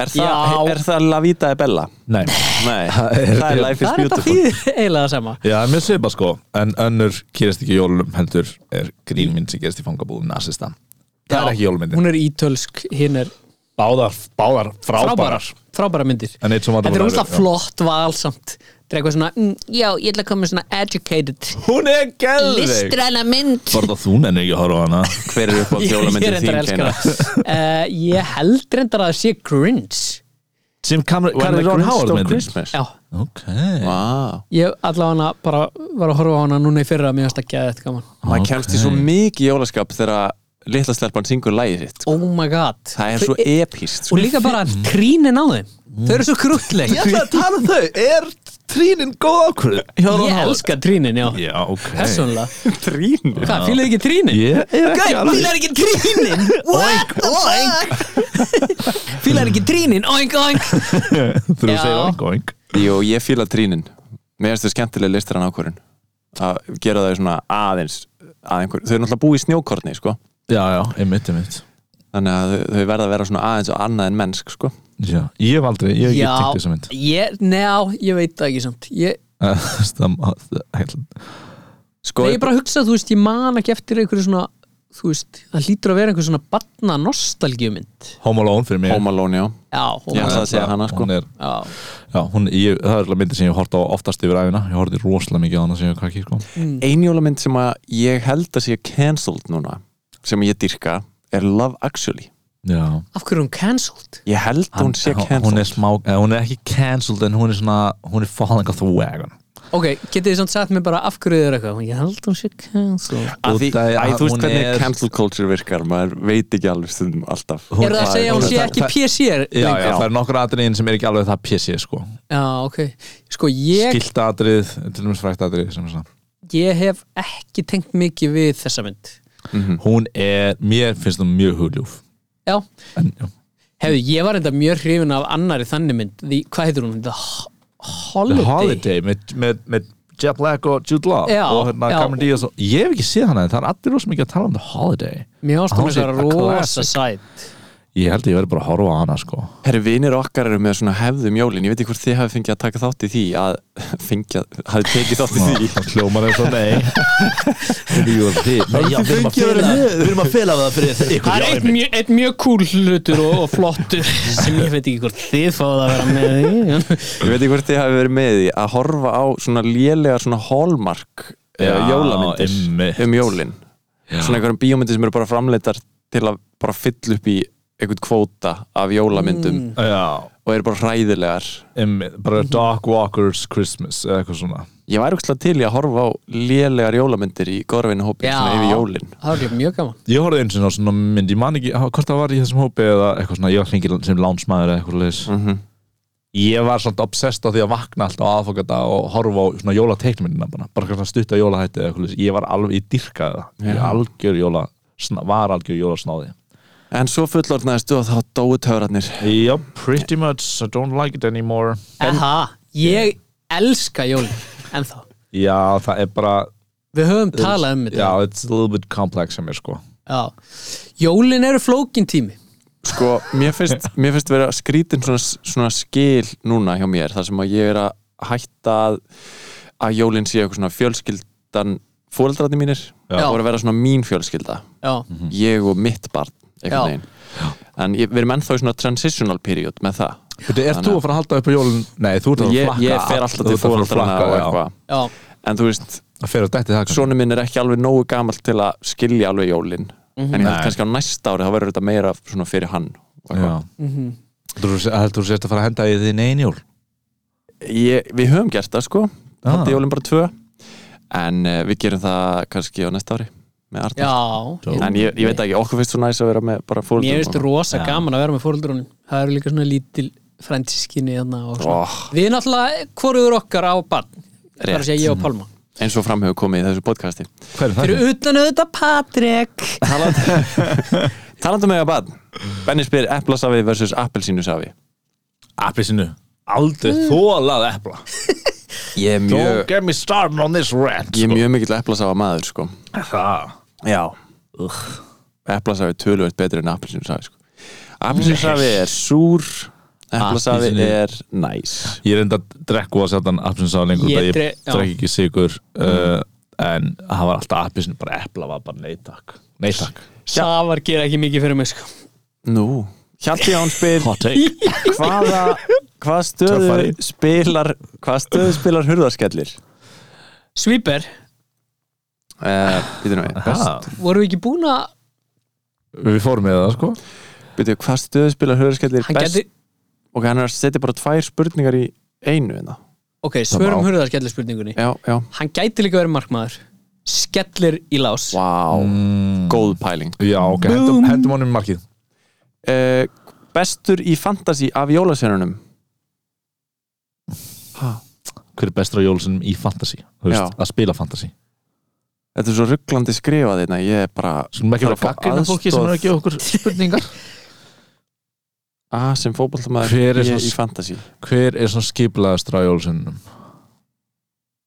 B: Er
D: Já.
B: það, er það La Vida e Bella?
C: Nei,
B: Nei,
C: Það er-
B: það er Life is
D: Það er þetta
B: Beautiful
D: fyrir eiginlega það sama
C: já, en mér segir bara sko en önnur kýrist ekki í jólum heldur er grínmynd sem gerist í fangabúðum nasista það er
D: Já,
C: ekki jólmyndin
D: Hún er ítölsk, hinn er
C: báðar, báðar
D: frábærar Frábærar myndir
C: En It's a
D: Þetta
C: Wonderful
D: er
C: Life
D: úrslega
C: já.
D: flott valsamt Þetta er eitthvað svona, mm, já, ég ætla að koma með svona educated
C: hún er gæðveik
D: Listræna mynd
C: Bara þú nenni ekki að horfa á hana
B: Hver er uppáhalds
D: Ég ég
B: jólamyndin
D: reyndar
B: þín,
D: að elska
B: Keina?
D: það Eh, Ég held reyndar að það sé Grinch
C: sem Cam-
B: When the
C: Carrie Ron
B: Grinch
C: Howard
B: Stole
C: myndir
B: Christmas Ah.
D: já,
C: ok,
B: Vá,
D: ég allavega bara var að horfa á hana núna í fyrra mér varst að geða þetta gaman
B: maður kemst í svo mikið jólaskap þegar litla stelpan syngur lagið sitt
D: oh my god
B: Það er svo sko.
D: Þau-
B: epíst
D: og líka bara trínin á þeim þau eru svo krútleg
C: ég ætla að tala um þau, er trínin góð ákvörðu hjá Ron
D: ég
C: Howard?
D: elska trínin, já,
C: já, ok
D: persónulega
B: Trín
D: hvað, fýlaðu ekki trínin?
C: ég er ekki
D: Gau,
C: alveg
D: fílar ekki trínin Oink, oink Fílar ekki trínin, oink, oink
C: þú
D: Já.
C: segir oink oink
B: Jú, ég fíla trínin Mér finnst þau skemmtilega listarann ákvörun að gera þau svona aðeins að einhver, þau eru náttúrulega búið í snjókorni sko.
C: já, já, einmitt, einmitt
B: þannig að þau, þau verða að vera svona aðeins og annað en mennsk sko.
C: já, ég hef aldrei, ég hef ekki
D: Já,
C: tengt þessa mynd
D: ég, neá, ég veit það ekki samt ég,
C: það
B: Sko,
D: Nei, ég bara hugsa, þú veist, ég man ekki eftir einhverju svona Þú veist, það hlýtur að vera einhver svona Batna nostalgjumynd
C: Home Alone fyrir mig
B: Home Alone, já
D: Já, hún
B: Já,
D: var-
B: það- segja hana, sko.
C: hún er,
D: já.
C: já, hún, ég, það er alveg myndir sem ég hef hort á oftast yfir æfina ég horfði rosalega mikið á hana sem ég var krakki sko.
D: Mm.
B: Ein jólamynd sem að ég held að sé cancelled núna, sem ég dyrka er Love Actually
C: já
D: Af hverju er hún cancelled?
B: Ég held að hún sé
C: hún, hún, er
B: cancelled
C: smá, eh, hún er ekki cancelled en hún er svona hún er falling off the wagon
D: Ok, getið þið samt sagt mér bara af hverju þið er eitthvað Ég held hún sé cancelled
B: Af því-
C: Út af-
B: Æ, Þú
C: hún
B: veist hvernig
C: er-
B: cancel culture virkar maður veit ekki alveg stundum allaf
C: Hún-
D: Eru það að
C: það-
D: segja að hún
C: hún-
D: sé
C: það-
D: ekki
C: það-
D: PC er
C: já, já,
B: Já.
C: það er nokkur atriðin sem er ekki alveg það PC sko.
D: já, ok Sko, ég,
C: skilt atrið, til dæmis frækt atrið sem er svona
D: ég hef ekki tengt mikið við þessa mynd
B: Mhm.
C: hún er, mér finnst hún mjög hugljúf
D: Já,
C: en, já.
D: Hefðu, ég var enda mjög hrifin af annari þannig mynd því, Hvað heitir hún? The Ho-
C: The
D: Holiday,
C: Holiday með, með, með Jeff Black og Jude Law
D: Já,
C: og hérna
D: já.
C: Cameron Diaz og, ég hef ekki séð hana en það er allir rosa mikið að tala um The Holiday
D: Mér ást hún
C: Holiday,
D: þessar
C: a
D: rosa
C: classic.
D: sæt
C: ég held að ég verði bara að horfa á hana sko.
B: Herri, vinir okkar eru með svona hefðum jólin Ég veit ekki hvort þið hafi fengið að taka þátt í því að fengið, hafi tekið þátt í því
C: það hljómar eins og nei Jú, þið- Nei, já, við erum að fela við erum að fela það fyrir ykkur
D: Það
C: já,
D: er eitt
C: einmitt.
D: mjög, eitt mjög kúl hlutur og, og flottur sem ég veit ekki hvort þið fáið að vera með í.
B: Ég veit ekki hvort þið hafi verið með í því að horfa á svona lélegar svona hallmark
C: Já,
B: Já, jólamyndir
C: einmitt.
B: um jólin Svona einhverjum bíómyndir sem eru bara framleitar til að bara fylla upp í einhvern kvóta af jólamyndum
C: Mm. já,
B: og eru bara hræðilegar
C: einmitt. bara Dark Walkers Christmas eða eitthvað svona
B: Ég væri úkslega til í að horfa á lélegar jólamyndir í góðravinni hópin svona yfir jólin
D: það var líka mjög gaman
C: ég horfði eins og svona mynd, ég man ekki á- hvort það var í þessum hópi eða eitthvað svona ég var hringið sem lánsmaður eða eitthvað leis
B: Mhm.
C: ég var svona obsessed á því að vakna alltaf á aðfokata og horfa á svona jólateiknmyndina bara, bara svona stutt á jólahætti eða eitthvað leis ég var alveg, ég dyrkaði það ég
B: Já.
C: algjör jóla, sna, var algjör jólasnáði
B: En svo fullorðnaðist og þá dóu töfrarnir
C: já, pretty much, I don't like it anymore
D: Aha, Ég elska jólin ennþá
C: já, það er bara
D: Við höfum talað um þetta
C: já, it's a little bit complex sem er sko
D: Já. Jólin eru flókin tími
B: Sko, mér finnst, mér finnst vera skrítin svona, svona skil núna hjá mér þar sem að ég er að hætta að, að jólinn sé eitthvað svona fjölskyldan fóreldrarnir mínir
D: Já.
B: og að vera svona mín fjölskylda
D: Já,
C: Mhm.
B: ég og mitt barn
D: Já.
B: einhvern veginn en ég, við erum ennþá í svona transitional period með það
C: Beti, er þú að fara að halda upp á jólun? Nei, þú ert að
B: ég,
C: flakka
B: ég fer alltaf til fóreldrarna og eitthvað
D: já,
B: en þú veist,
C: Það fer að dætti það kannski.
B: sonu minn er ekki alveg nógu gamalt til að skilja alveg jólinn en ég held kannski á næsta ári þá verður þetta meira svona fyrir hann og eitthvað.
C: Já
D: mhm.
C: Heldur þú- heldur þú sérst að fara að henda í þín einn jól?
B: ég, við höfum gert það sko
C: Ah.
B: haldi jólum bara tvö en uh, við gerum það kannski á næsta ári með Arnar
D: já
B: en ég, ég veit ekki, okkur finnst svo næs að vera með bara fólk
D: Mér finnst rosa
C: Já.
D: gaman að vera með fóruldrunum Það eru líka svona lítil fræntískinni og svona.
B: oh,
D: Við náttúrulega hvoruður okkar á barn Það er að
B: Rétt.
D: segja ég og Pálma
B: eins og fram hefur komið í þessu podcasti
C: Hver er það?
D: Fyrir utan auðvitað Patrik
B: talandum með að bad Benni spyr eplasafi versus appelsínusafi
C: Applisinu Aldrei þólað epla
B: ég er mjög,
C: get me started on this rant
D: sko.
C: sko.
B: ég er mjög mikill eplasafa maður sko
C: Það
B: já eplasafi er tölvöld betur en appelsínusafi sko. appelsínusafi er súr eplasafi
C: Appelsínu.
B: er næs
C: Ég er enda að drekku að sjaldan applisinu lengur
D: Ég
C: Ég,
D: dre-
C: ég
D: já.
C: drekki ekki sigur uh, En það var alltaf applisinu Bara epla var bara nei takk Nei takk
D: Safar gera ekki mikið fyrir mig sko
B: nú, Hjalti Jón spyr
C: Hot take
B: hvaða hvað stöðu
C: Töffari.
B: spilar hvað stöðu spilar hurðarskellir
D: Svíper,
B: býtu nú
C: Ha,
D: voru við ekki búin að
C: Við fórum með það sko
B: býtu hvað stöðu spilar hurðarskellir
D: hann
B: best
D: geti
B: ok, hann er að setja bara tvær spurningar í einu hérna.
D: ok, svörum
C: má.
D: hurðar skellir spurningunni
B: já, já,
D: hann gæti líka verið markmaður skellir í lás
B: vá
C: Mm.
B: góð pæling
C: Já, ok, hendum, hendum honum í markið
B: uh, bestur í fantasy af jólasennunum
C: Hver er bestur á jólusunum í fantasy? Þú veist,
B: Já.
C: að spila fantasy
B: þetta er svo rugglandi skrifað hérna ég er bara
C: Skulum ekki
B: Þarf
C: vera
B: að fá
C: gaggrina fólki sem
B: aðstoð.
C: er að gefa okkur spurningar
B: að "Ah, sem fótballtamaður
C: Hver er
B: ég
C: svona-
B: í fantasy
C: Hver er svona skiplaðastur á jólusunum?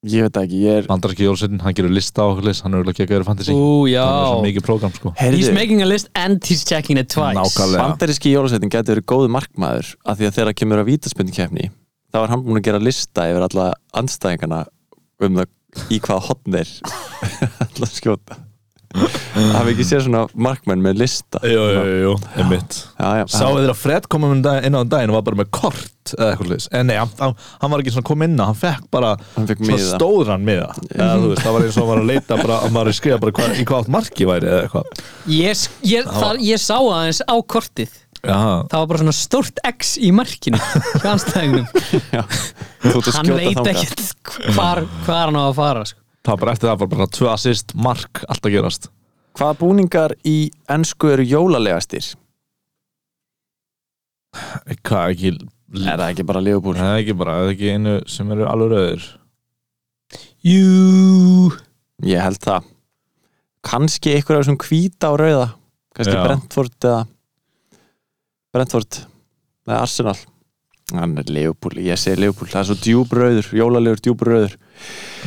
B: ég veit það ekki, ég er
C: Bandarski jólusunin, hann gerur lista á okkur list Hann er auðvitað ekki að vera fantasy
D: ú, já
C: Það er svo mikið prógram sko
D: he's
B: Heyrðu,
D: making a list and he's checking it twice
C: Nákvæmlega.
B: bandaríski jólasetning getur verið góðu markmaður af því að þegar kemur að vítaspindikeppni þá er hann búin að gera lista yfir alla anstæðingana um það í hvaða hotn er alltaf skjóta hafi ekki séð svona markmenn með lista
C: Jú, jú, jú, jú, einmitt
B: Já, já,
C: Sáu þér að Fred kom um dag- inn á um daginn og var bara með kort eða eitthvað leis En nei, hann, hann, hann var ekki svona kom inn á, hann fekk bara
B: Hann fékk
C: Svo
B: miða.
C: stóður hann miða eða, þú veist, Það var eins og hann var að leita bara, hann var að skrifa bara hva, í hvað átt marki væri eða eitthvað
D: ég, s- ég, það, ég sá aðeins á kortið
C: Já,
D: það var bara svona stórt X í markinu hjá anstæðingnum
B: þú ert að
D: hann
B: skjóta
D: veit
B: þangað.
D: ekkert hvar, hvar hann á að fara sko.
C: það var bara eftir það var bara tvö assist mark allt að gerast
B: Hvaða búningar í ennsku eru jólalegastir?
C: Eh, Hvað ekki,
B: Er það ekki bara Leopold?
C: það er ekki bara, það er ekki einu sem eru alveg rauður
D: jú
B: Ég held það Kanski einhver af þessum hvíta og rauða Kanski
C: Já.
B: Brentford eða Brentford eða Arsenal Hann er Leopold, ég segi Leopold Það er svo djúbröður, jólalegur djúbröður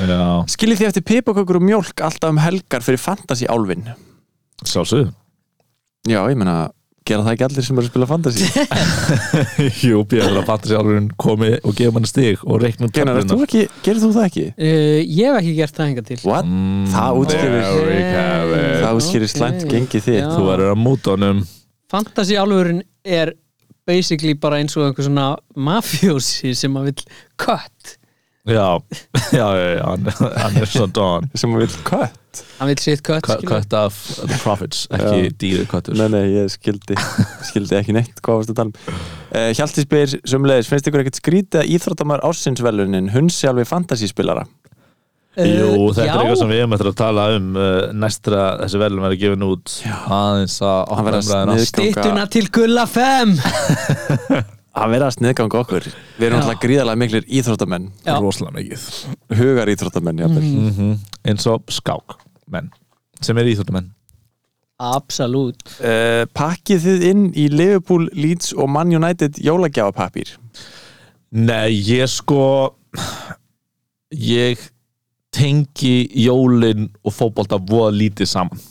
C: Já,
B: Skiljið þið eftir pipakökur og mjólk alltaf um helgar fyrir fantasy álfin
C: sjálfsögðu
B: Já, ég meina, gera það ekki allir sem eru að spila fantasy
C: Jú, Björn, að fatta sér alveg komi og gefa mann stig og reiknum
B: Genar, ert þú ekki, gerir þú það ekki?
D: Uh, ég hef ekki gert það enga til
B: What?
C: Mm,
B: Það útskýrir-
C: there we have it.
B: Það útskýrir
D: ok.
B: slæmt gengið þitt
D: Já.
C: Þú verður að múta honum
D: Fantasy álfurinn er basically bara eins og einhver svona mafjósi sem að vill kött
C: Já, já, já, já hann, hann er svo don
B: sem vil kött
D: hann vill sitt kött
C: Cut,
D: skilur.
C: cut af profits, ekki
B: Já.
C: dýru köttur
B: Nei, nei, ég skildi, skildi ekki neitt hvað varst að tala um uh, Hjalti spyr sömulegis, finnst ykkur ekkert skrítið að íþróttamar ássinsvelunin hunsi alveg fantasíspilara?
D: Eh,
C: Jú, þetta er
D: já.
C: eitthvað sem við hefum eftir að tala um uh, næstra þessi velum er að gefa út aðeins að
B: Hann verður
C: opna
B: að
C: umræðina
B: sniðganga-
D: Styttuna til Gulla 5
B: Að vera að sniðganga okkur Við erum
D: Já.
B: alltaf gríðarlega miklir íþróttamenn
D: Já.
C: rosalega mikið
B: Hugar íþróttamenn, jáfnvel mm.
C: eins og skák menn sem er íþjóttumenn
D: Absolutt
B: Eh, Pakkið þið inn í Liverpool, Leeds og Man United jólagjáfapappir
C: Nei, ég sko ég tengi jólin og fótbolta voða lítið saman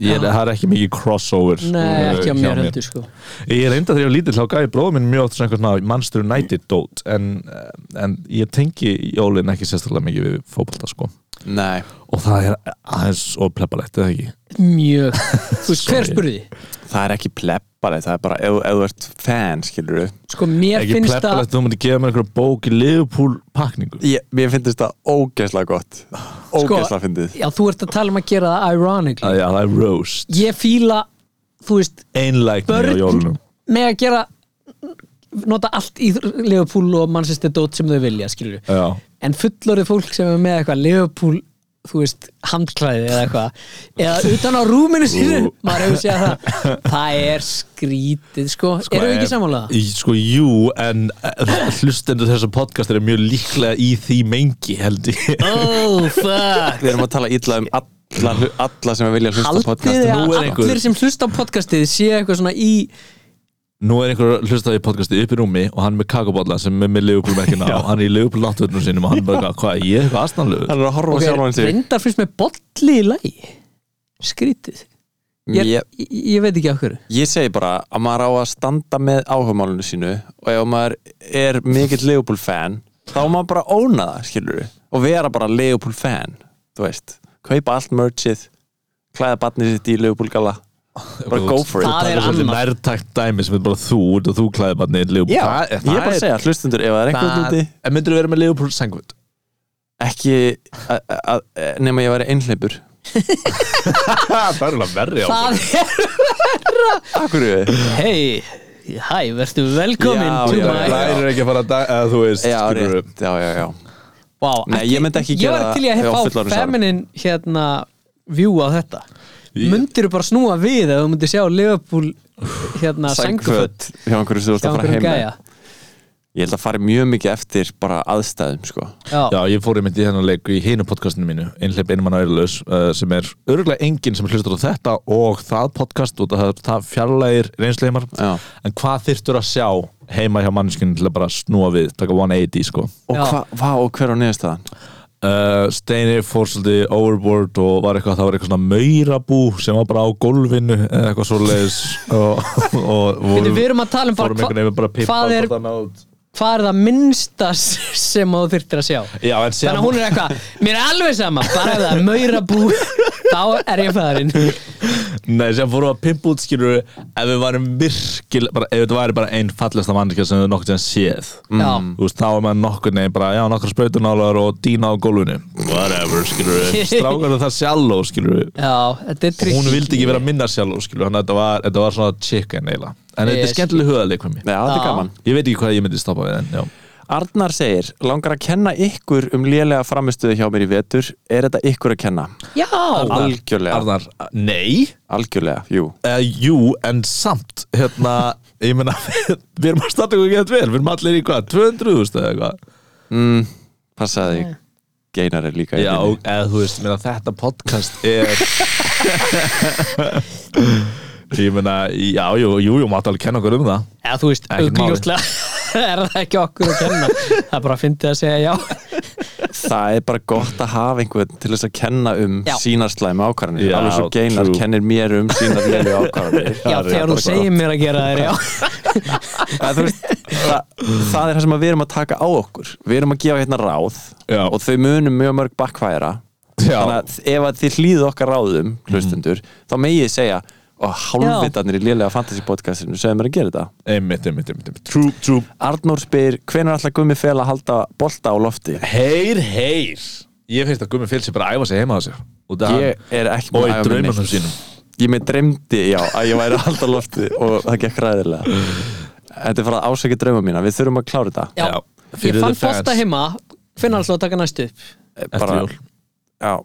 C: ég,
D: Já.
C: það er ekki mikið crossover
D: Nei,
C: uh,
D: ekki á
C: hjá
D: mér heldur sko
C: Ég reynda þegar ég var lítill þá gæði bróðum minn mjög oft svona einhvern veginn Manchester United dót en, eh, en ég tengi jólin ekki sérstaklega mikið við fótbolta sko
B: Nei,
C: og það er aðeins og plebbalegt eða ekki
D: Mjög Þú veist, hver
C: Sorry.
D: spurði?
B: það er ekki plebbalegt Það er bara, ef, ef þú ert fan, skilur við
D: Sko, mér
C: ekki
D: finnst
C: plebbalegt
D: það
C: þú myndir gefa mér einhverja bók í Liverpool pakningu
B: ég, Mér finnst það ógeðslega gott
D: Sko,
B: Ógeðslega fyndið
D: Já, þú ert að tala um að gera það
C: að
D: ironically
C: já það er roast
D: Ég fíla, þú veist,
C: einlægni á
D: Börn-
C: jólunum
D: með að gera nota allt í Liverpool og Manchester Dót sem þau vilja, skilur
C: já
D: en fullorðið fólk sem er með eitthvað Liverpool, þú veist, handklæði eða eitthvað eða utan á rúminu sínu
C: Ú.
D: maður hefur séð það það er skrítið, sko, sko erum við ekki samanlega?
C: Í- Sko, jú, en eh, hlustendur þessar podcast er mjög líklega í því mengi, held ég
D: Oh, fuck
B: Við erum að tala illa um alla, alla sem vilja hlusta á
D: Haldið
B: podcastin
D: þið að
C: Nú er
D: allir
C: einhver-
D: sem hlusta á podcastið séu eitthvað svona í
C: Nú er einhver hlustað í podcasti upp í rúmi og hann er með kakabólla sem er með leguplumekina og hann er í leguplumnáttvörnum sínum og hann er bara, hvað, er ég eitthvað aðstæðanlegu?
B: Hann er að horfa okay,
D: okay,
B: sjálfan sig
D: reyndar fyrst með bolli í lagi skrítið ég,
B: ég,
D: ég, ég veit ekki af hverju
B: ég segi bara að maður á að standa með áhugamálinu sínu og ef maður er mikill Leopold fan þá á maður bara óna það, skilur við og vera bara Leopold fan þú veist, kaupa allt merchið klæða barnið sitt í Leopold gala bara go for it
D: Það er
C: svolítið
D: annað.
C: nærtakt dæmi sem er bara þú út og þú klæði bara neitt leguplum.
B: ég er bara að segja, hlustundur, ef það er einhvern úti
C: En myndur þú vera með leguplum sengvöld?
B: ekki að- að- að- e, nema ég væri einhleipur
C: það er alveg verri á
D: það er,
B: Akkur,
D: hei,
E: Hæ, verður velkomin
B: Já,
E: to
B: já,
E: my
B: já.
C: Lærir ekki að fara að dag, eða þú veist
B: Já,
C: skilurðu.
B: rétt, já, já, já
E: wow,
B: Nei, ég myndi ekki
D: Ég
B: gera
D: var til í
B: það á
D: að fá
B: fullorðinsárum.
D: feminin hérna view á þetta
C: Ég-
D: Mundirðu bara snúa við ef þú myndir sjá Liverpool hérna sængföld
B: Sængföt hjá einhverju sem þú ert að fara heim með. Ég held að fara mjög mikið eftir bara aðstæðum sko.
C: Já, ég fór einmitt í þennan leik í hinu podcastinu mínu Einhleip einmann ærlaus uh, sem er örgulega enginn sem hlustar á þetta og það podcast og það, það fjarlægir reynsleimar
B: Já.
C: en hvað þyrftur að sjá heima hjá mannskinu til að bara snúa við, taka 180 sko
B: Og,
D: Já.
B: hva, hva, og hver á niðurstaðan?
C: uh, Steini fór svolítið overboard og var eitthvað, það var eitthvað svona maurabú sem var bara á gólfinu eða eitthvað svoleiðis og, og
D: Við,
C: voru,
D: við erum að tala um bara
C: fórum einhvern
D: hva,
C: veginn bara að pippa
D: hvað, er,
C: hvort annað út.
D: hvað er það minnsta sem þú þyrftir að sjá
C: Já, en
D: Þannig
C: síðan
D: að hún er eitthvað, mér er alveg sama bara ef það er maura þá er ég fæðarinn
C: Nei, sem fórum við að pimpa út skilur ef við varum virkilega, bara, ef þetta væri bara einn fallesta mannskja sem við nokkuð sem séð
B: Mm.
D: Já.
C: Þú veist, þá er maður nokkuð neginn bara, já, nokkra sprautunálar og dýna á gólfinu Whatever, skilur við Strákar það sjálfó, skilur við
D: Já, þetta er trygg
C: Hún vildi ekki vera minna sjálfó, skilur Þannig að þetta var, þetta var svona chicken eiginlega En þetta
D: Ég
C: er skemmtileg hugaleikum
B: Nei, það er
D: Já.
B: gaman
C: Ég veit ekki hvað ég myndi stoppa við en, já
B: Arnar segir, langar að kenna ykkur um lélega framistuðu hjá mér í vetur er þetta ykkur að kenna?
D: Já,
B: Algjörlega,
C: Arnar, nei
B: algjörlega, jú
C: Uh, jú, en samt hérna, ég meina við erum að starta ykkur gett vel, við erum allir í hvað 200.000 eða eitthvað
B: mm, Passaði, geinar er líka í
C: Já,
B: liðinu.
C: eða þú veist, meina, þetta podcast er Ég meina, já, jú, jú, jú, mátt alveg kenna okkur um það
D: eða þú veist,
C: Ekkert mál.
D: augljóslega er það ekki okkur að kenna það er bara að fyndi að segja já
B: Það er bara gott að hafa einhvern til þess að kenna um
D: Já.
B: sínar slæmi ákvarðanir
C: Já,
B: alveg svo geinar
C: true.
B: kennir mér um sínar lélega ákvarðanir
D: Já,
C: Það er
D: þegar þú
C: bara
D: segir mér að gera þér, já
B: Það, veist, það, það er það sem að við erum að taka á okkur Við erum að gefa hérna ráð
C: Já.
B: og þau munum mjög mörg bakkværa
C: Já. Mhm.
B: þannig að ef að þið hlýðu okkar ráðum hlustendur, þá megi ég segja og hálfvitarnir í lélega fantasy podcastinu segja mér að gera þetta
C: Einmitt, einmitt, einmitt, einmitt. Trú, trú
B: Arnór spyr, hvenær alltaf gummi fel að halda bolta á lofti?
C: Heyr, heyr Ég finnst að Gummi Fils er bara að æfa sig heima á sig Og, það,
B: Ég er ekki
C: og
B: búinn að
C: í
B: æfa mig
C: draumunum
B: neitt.
C: sínum
B: Ég með dreymdi, já, að ég væri að halda á lofti og það gekk ræðilega Þetta er farað að ásækja drauma mína, við þurfum að klára þetta
D: Já,
C: Já,
D: ég
C: fyrir
D: fann
C: the fans.
D: fósta heima finna alltaf að taka næstu upp
C: Eftir
B: Eh, Bara-
C: jól
B: Já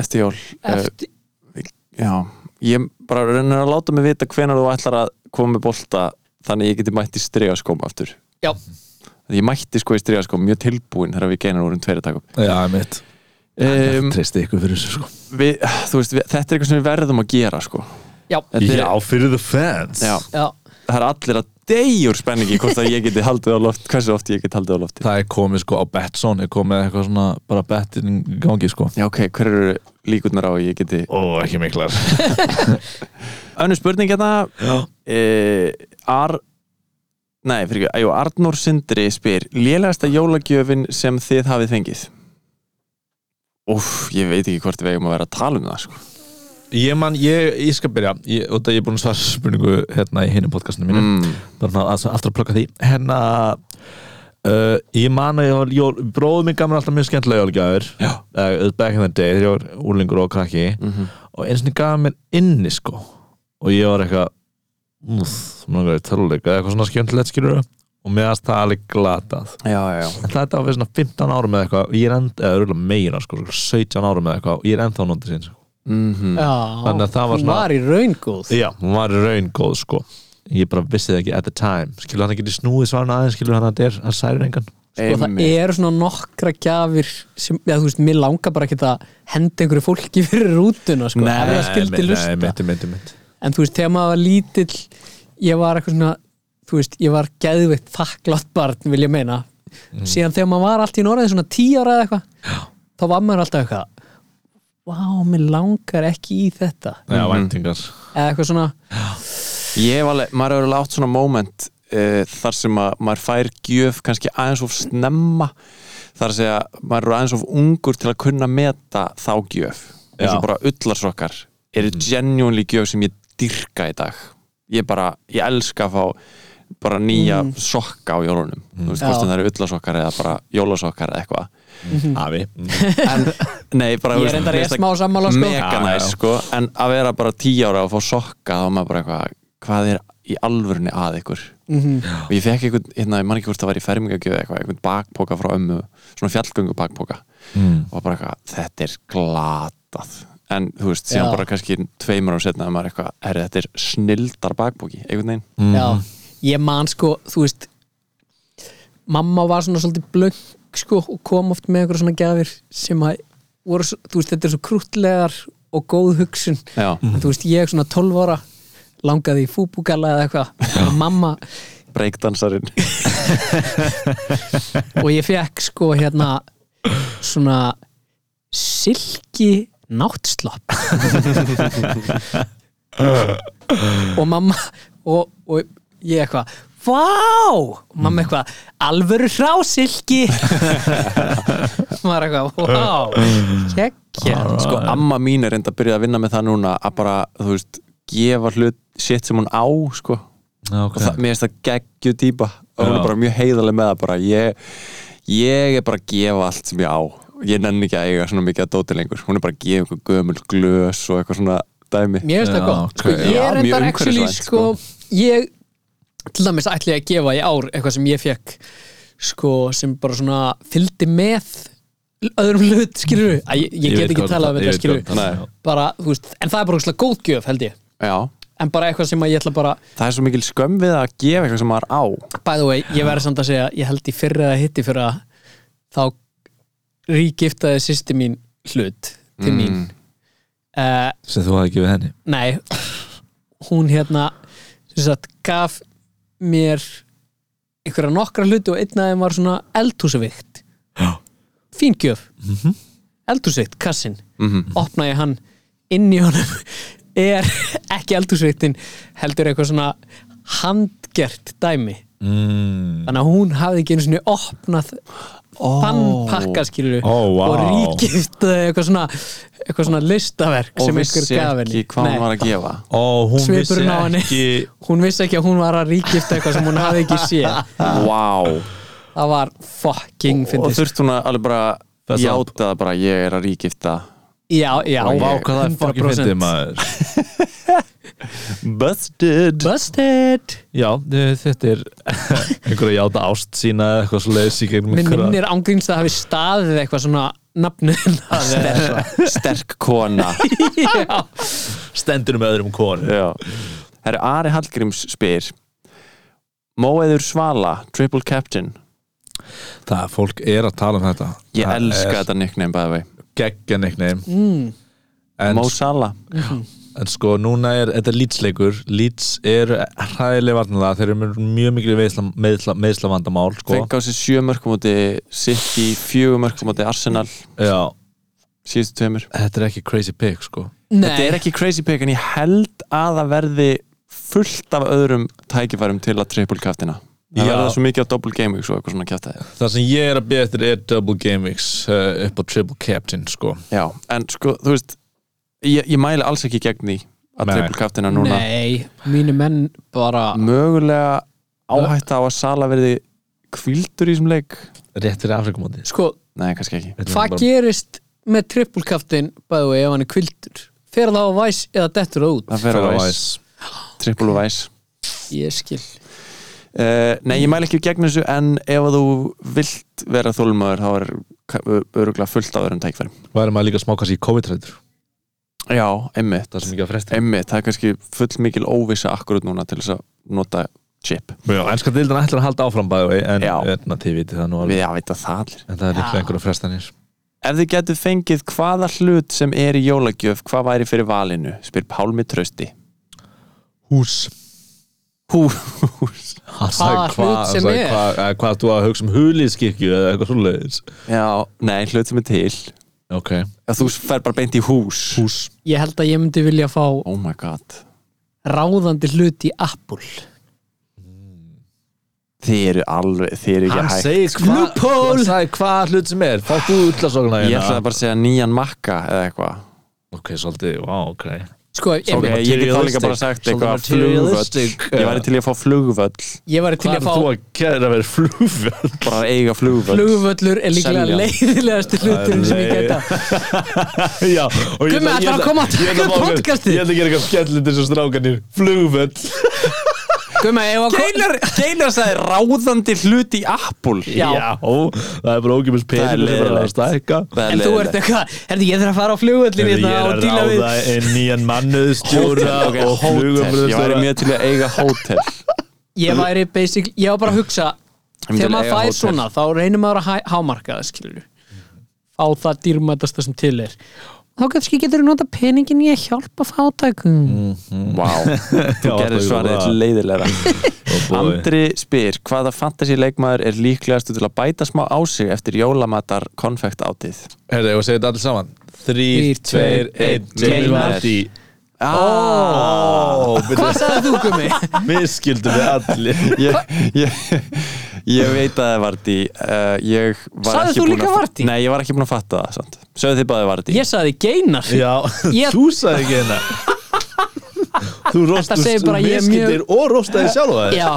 B: Eftir jól eh,
D: Eftir,
B: Já, ég bara reynir að láta mig vita hvenær þú ætlar að koma með bolta þannig ég geti mætt í stregaskóm aftur
D: já,
B: Ég mætti sko í stregaskóm mjög tilbúin þegar við geinar vorum tveir að taka upp
C: Já, einmitt
B: um,
C: Tristi ykkur fyrir þessu sko
B: við, Þú veist, við, þetta er eitthvað sem við verðum að gera sko
D: já,
B: Þetta er,
C: fyrir the fans
B: já,
D: já
B: það er allir að deyjur spenningi hvort að ég geti haldið á loft hversu oft ég geti haldið á lofti
C: Það er komið sko á Betson Er komið eitthvað svona bara betting í gangi sko
B: Já, ok, hver eru líkurnar á að ég geti
C: Ó, ekki miklar
B: Önnu spurning hérna uh, Ar Nei, fyrir ekki, jú, Arnór Sindri spyr Lélegasta jólagjöfin sem þið hafið fengið Úff, ég veit ekki hvort við eigum að vera að tala um það sko.
C: Ég man, ég, ég skal byrja ég, og það ég er búin að svara spurningu hérna í hinu podcastinu mínu
B: mm.
C: bara svona að, aftur að plugga því hérna uh, ég man að ég var jól, bróðum minn gamur alltaf mjög skemmtilega jólgjafur uh, back in the day þegar ég var úlingur og krakki og eins og ég gaf mér inni sko og ég var eitthvað úff, mér langar í töluleika eitthvað svona skemmtilegt skilur og mér aðst það alveg glatað
B: Já, já, já
C: en þetta var fyrir svona 15 árum eða eitthvað og ég er enda, eða örugglega meira sko 17 árum eða eitthvað og ég er enda á nótið sín sko.
B: mm -hmm.
D: Já,
C: Þannig að það var
D: hún
C: svona-
D: var í raungóð
C: Já, hún var í raun góð sko Ég bara vissi það ekki at the time Skilur hann ekki í snúið svarna aðeins Skilur hann að þetta er að særi reyngan
D: og Sko, það eru svona nokkra gjafir sem, já, þú veist, mér langar bara ekki að henda einhverju fólki fyrir rútuna sko, ef það skildi lusta
C: myndi, myndi, myndi
D: en þú veist, þegar maður var lítill ég var eitthvað svona, þú veist, ég var geðveitt þakklátt barn, vil ég meina
B: Mhm.
D: síðan þegar maður var allt í norðið svona tí ára eða eitthvað, þá var maður alltaf eitthvað vá, mér langar ekki í þetta
C: Já, væntingar
D: eða eitthvað svona,
B: Ég hef alveg, maður hefur alveg átt svona moment uh, þar sem að maður fær gjöf kannski aðeins of snemma þar að segja, maður eru aðeins of ungur til að kunna meta þá gjöf eins og
C: Já.
B: bara ullarsrokkar eru mm. genuinely gjöf sem ég dyrka í dag ég bara, ég elska að fá bara nýja sokka á jólunum þú veist,
D: Mhm. Já.
B: hvort sem það eru ullarsrokkar eða bara jólasokkar eða eitthvað
D: Mhm.
C: Afi
B: en, nei, bara,
D: Ég
B: þú veist,
D: reyndar
B: mér
D: er
B: finnst það
D: smá sammála, sko.
B: mega
C: Já,
B: næs,
C: já.
B: sko, en að vera bara tíu ára og fá sokka, þá er maður bara eitthvað hvað hvað er í alvörunni að ykkur
D: Mhm.
B: og ég fekk einhvern, hérna, ég man ekki hvort það var í fermingagjöð eitthvað, einhvern bakpoka frá ömmu svona fjallgöngu bakpoka
C: Mm.
B: og bara eitthvað, þetta er glatað en þú veist, síðan
D: Já.
B: bara kannski tveimur árum setna að maður eitthvað, herri, þetta er snildar bakpoki, einhvern veginn
D: já, ég man sko þú veist mamma var svona svolítið blöng sko og kom oft með einhverja svona gafir sem að voru, svo- þú veist, þetta er svo krútlegar og góð hugsun
B: Já.
D: en þú veist, ég svona 12 ára langaði í fúbúgalla eða eitthvað og mamma,
B: breakdansarinn
D: og ég fekk sko hérna svona silki náttslopp og mamma og, og ég eitthvað Vá! Og Mamma eitthvað, alvöru hrásilki Maður eitthvað, vá Kekkja
B: sko amma mín er enda að byrja að vinna með það núna að bara, þú veist, gefa hlut shit sem hún á, sko og það,
C: okay.
B: mér finnst það geggju típa og hún
C: Já.
B: er bara mjög heiðarleg með það bara ég, ég er bara að gefa allt sem ég á ég nenni ekki að eiga svona mikið að dóti lengur hún er bara að gefa einhver gömul glös og eitthvað svona dæmi
D: Mér finnst það
C: Já,
D: gott sko,
C: ok.
D: Ég er
B: Já, mjög
D: reyndar actually
B: umhverfisvænt,
D: sko, Ég til dæmis ætli að gefa í ár eitthvað sem ég fekk sko, sem bara svona fylgdi með öðrum hlut, skilur við ég, ég get ekki talað um þetta, skilur við
C: Nei,
D: bara, þú veist, en það er bara úrslega góð gjöf held ég
B: já,
D: en bara eitthvað sem að ég ætla bara
B: það er svo mikil skömm við að gefa eitthvað sem maður á
D: by the way, ég verði samt að segja ég held í fyrra eða hitti fyrra þá ríkiftaði sýsti mín hlut til mín
B: Mm.
D: uh,
C: sem þú hafði gefið henni
D: Nei, hún hérna sem sagt, gaf mér einhverja nokkra hluti og einn af þeim var svona eldhúsavíkt fíngjöf mm
B: Mhm.
D: eldhúsavíkt, kassin opna ég hann inn í honum er ekki eldhúsavíktin heldur eitthvað svona handgert dæmi
C: mm.
D: þannig að hún hafði ekki einu svona opnað þann pakka skilur
C: Ó, vá.
D: og ríkiftaði eitthvað svona eitthvað svona listaverk
B: og
D: sem einhver
B: vissi
D: gaf henni
B: ekki hvað
D: Nei
B: hún var að gefa
C: Ó, hún vissi
D: svipurinn á henni
C: ekki
D: hún vissi ekki að hún var að ríkifta eitthvað sem hún hafði ekki séð
B: wow.
D: það var fucking
B: og
D: fyndist
B: þurft hún að alveg bara
C: Fess up.
B: játa það bara ég er að ríkifta
D: já, já,
B: Vá,
C: Vá, hvað það er fokkin fyndið maður
B: busted
D: busted
C: Já, eh, þetta er einhverja játa ást sína eða eitthvað svo leiðis í gegnum
D: minn
C: einhverja-
D: minnir ángríns að það hafi staðið eitthvað svona nafnið hennar eða eitthvað.
B: sterk kona
D: Já.
C: stendur með öðrum konu
B: Já Herru, Ari Hallgríms spyr Móeður Svala, Triple Captain
C: Það að fólk er að tala um þetta
B: Ég
C: Það
B: elska
C: er
B: þetta nickname bæði vei
C: Geggjan eitthvað
D: Mm.
C: en,
B: Mó Sala
C: en sko núna er þetta er Leeds-leikur Leeds er hræðileg varnanlega þeir eru með mjög mikil meðsla, meðsla, meðsla vandamál sko.
B: Fengi á sig sjö mörkum áti City, fjögur mörkum áti Arsenal
C: Já,
B: síðustu tveimur
C: þetta er ekki crazy pick sko.
B: Þetta
D: nei,
B: er ekki crazy pick en ég held að það verði fullt af öðrum tækifærum til að triple captaina Það
C: Já.
B: verður það svo mikið á double game svo eitthvað svona kjátaði
C: Það sem ég er að byrja eftir er double game weeks uh, upp á triple captain sko.
B: Já, en sko, þú veist ég, ég mæli alls ekki gegn því að
C: Nei.
B: triple captaina núna
D: nei mínu menn bara
C: Mm.
B: mögulega áhætta á að Sala verði kvildur í þessum leik
C: rétt fyrir Afrikamóti
D: sko,
B: Nei, kannski ekki
D: hvað gerist með trippulkaftin bæðu ef hann er kvildur fer það á væs eða dettur það út
B: Það fer á væs, triple og væs
D: ég skil
B: uh, Nei, ég mæli ekki gegn þessu en ef að þú vilt vera þólmaður þá er ka- ö- örugglega fullt á öðrum tækfærum
C: Væri maður líka smá kannski í COVID-rætur
B: Já, einmitt
C: Það sem ekki að fresti
B: Einmitt, það er kannski full mikil óvissa akkurat núna til þess að nota chip
C: Já, ennska deildan ætlar að halda áfram bæði en
B: Já.
C: en að þið vitið það nú
B: Við
C: alveg
B: að vita það allir
C: en það er líklega einhverja frestanir
B: Ef þið getur fengið hvaða hlut sem er í jólagjöf hvað væri fyrir valinu? Spyr Pálmi Trösti
C: Hús
B: Hú,
C: Hann
D: Hvaða
C: sagði hvað
D: hlut
C: hann
D: sem
C: sagði
D: er.
C: hvað- eh, hvað þú að hugsa um hulískirkju eða eitthvað svoleiðis
B: Já, nei, hlut sem er til
C: Ok,
B: Ef þú fer bara beint í hús
C: hús
D: ég held að ég myndi vilja fá
B: Oh my god
D: ráðandi hlut í Apple
B: Þið eru alveg, þið eru ekki
C: Hann
B: hægt
C: segir hvað
D: Loophole!
C: Hann sagði hvað hlut sem er Fá þú hérna. útlasokna
B: Ég ætlaði bara að segja nýjan makka eða eitthvað
C: Ok, svolítið, vá, ok
D: sko,
B: Ok,
D: okay.
B: ég get þá líka bara sagt
C: Svolítið
B: eitthvað flugvöll
C: materialistic,
B: Ég væri til í að fá flugvöll
D: ég var til að
C: Hvað er
D: fá
C: þú að gera verið flugvöld?
B: Bara að eiga flugvöll
D: flugvöllur er líklega
B: Selja.
D: leiðilegasti hluturinn sem ég geta
C: Já, og ég
D: Gummi,
C: ætla-
D: ætlarðu
C: ég
D: að
C: ætla-
D: koma að
C: ég ætla
D: taka upp
C: fá mér-
D: podcastið?
C: Ég ætla að gera eitthvað skemmtilegt eins og strákanir Flugvöld
D: Gumma, ef að
B: Geilar, geilar sagði ráðandi hlut í Apple
D: Já.
C: það er bara ógjöfis
B: Það er
C: peningur sem er að
B: leiðilegt.
C: stækka
B: Það er
D: En þú ert
B: leiðilegt.
D: eitthvað, herði ég þarf að fara á flugvöllin
C: Ég
D: hérna
C: er
D: og
C: að
D: díla við
C: ráða einn nýjan mannöðstjóra
B: Hótel, ok,
C: og
B: hótel Ég væri
C: flugumröðstjóra
B: mjög til í að eiga hótel
D: Ég væri basically, ég var bara að hugsa
B: myndi
D: Þegar maður
B: eiga
D: fær
B: hótel.
D: svona, þá reynir maður að hæ- hámarka það, skilur Fá það dýrmætasta sem til er Þá kannski getur þú nota peningin í að hjálpa fátækum
B: Mm. Vá, þú gerir svarið leiðilega Andri spyr, hvaða fantasy leikmaður er líklegastu til að bæta smá á sig eftir jólamatar konfekt átið?
C: Herri, og segja þetta allir saman
D: Þrír,
C: 3, 2,
D: tveir,
C: 1
B: einn.
C: Jamie
B: Neymar.
C: Vardy
B: Ah,
C: Ó,
D: Hvað sagði þú, Gumi?
C: miskildum við allir
B: ég, ég, ég veit að það er Vardí uh, Ég var
D: Sagðir
B: ekki
D: þú
B: búin
D: líka
B: að
D: Vardí?
B: Nei, ég var ekki búin að fatta það samt. Sögðu þið báði Vardí
D: Ég sagði geinar
C: Já,
D: Ég-
C: þú sagði ekki hérna Þú
D: segir
C: rostast
D: bara ég er mjög-
C: miskildir og rostaði sjálfa þér
D: Já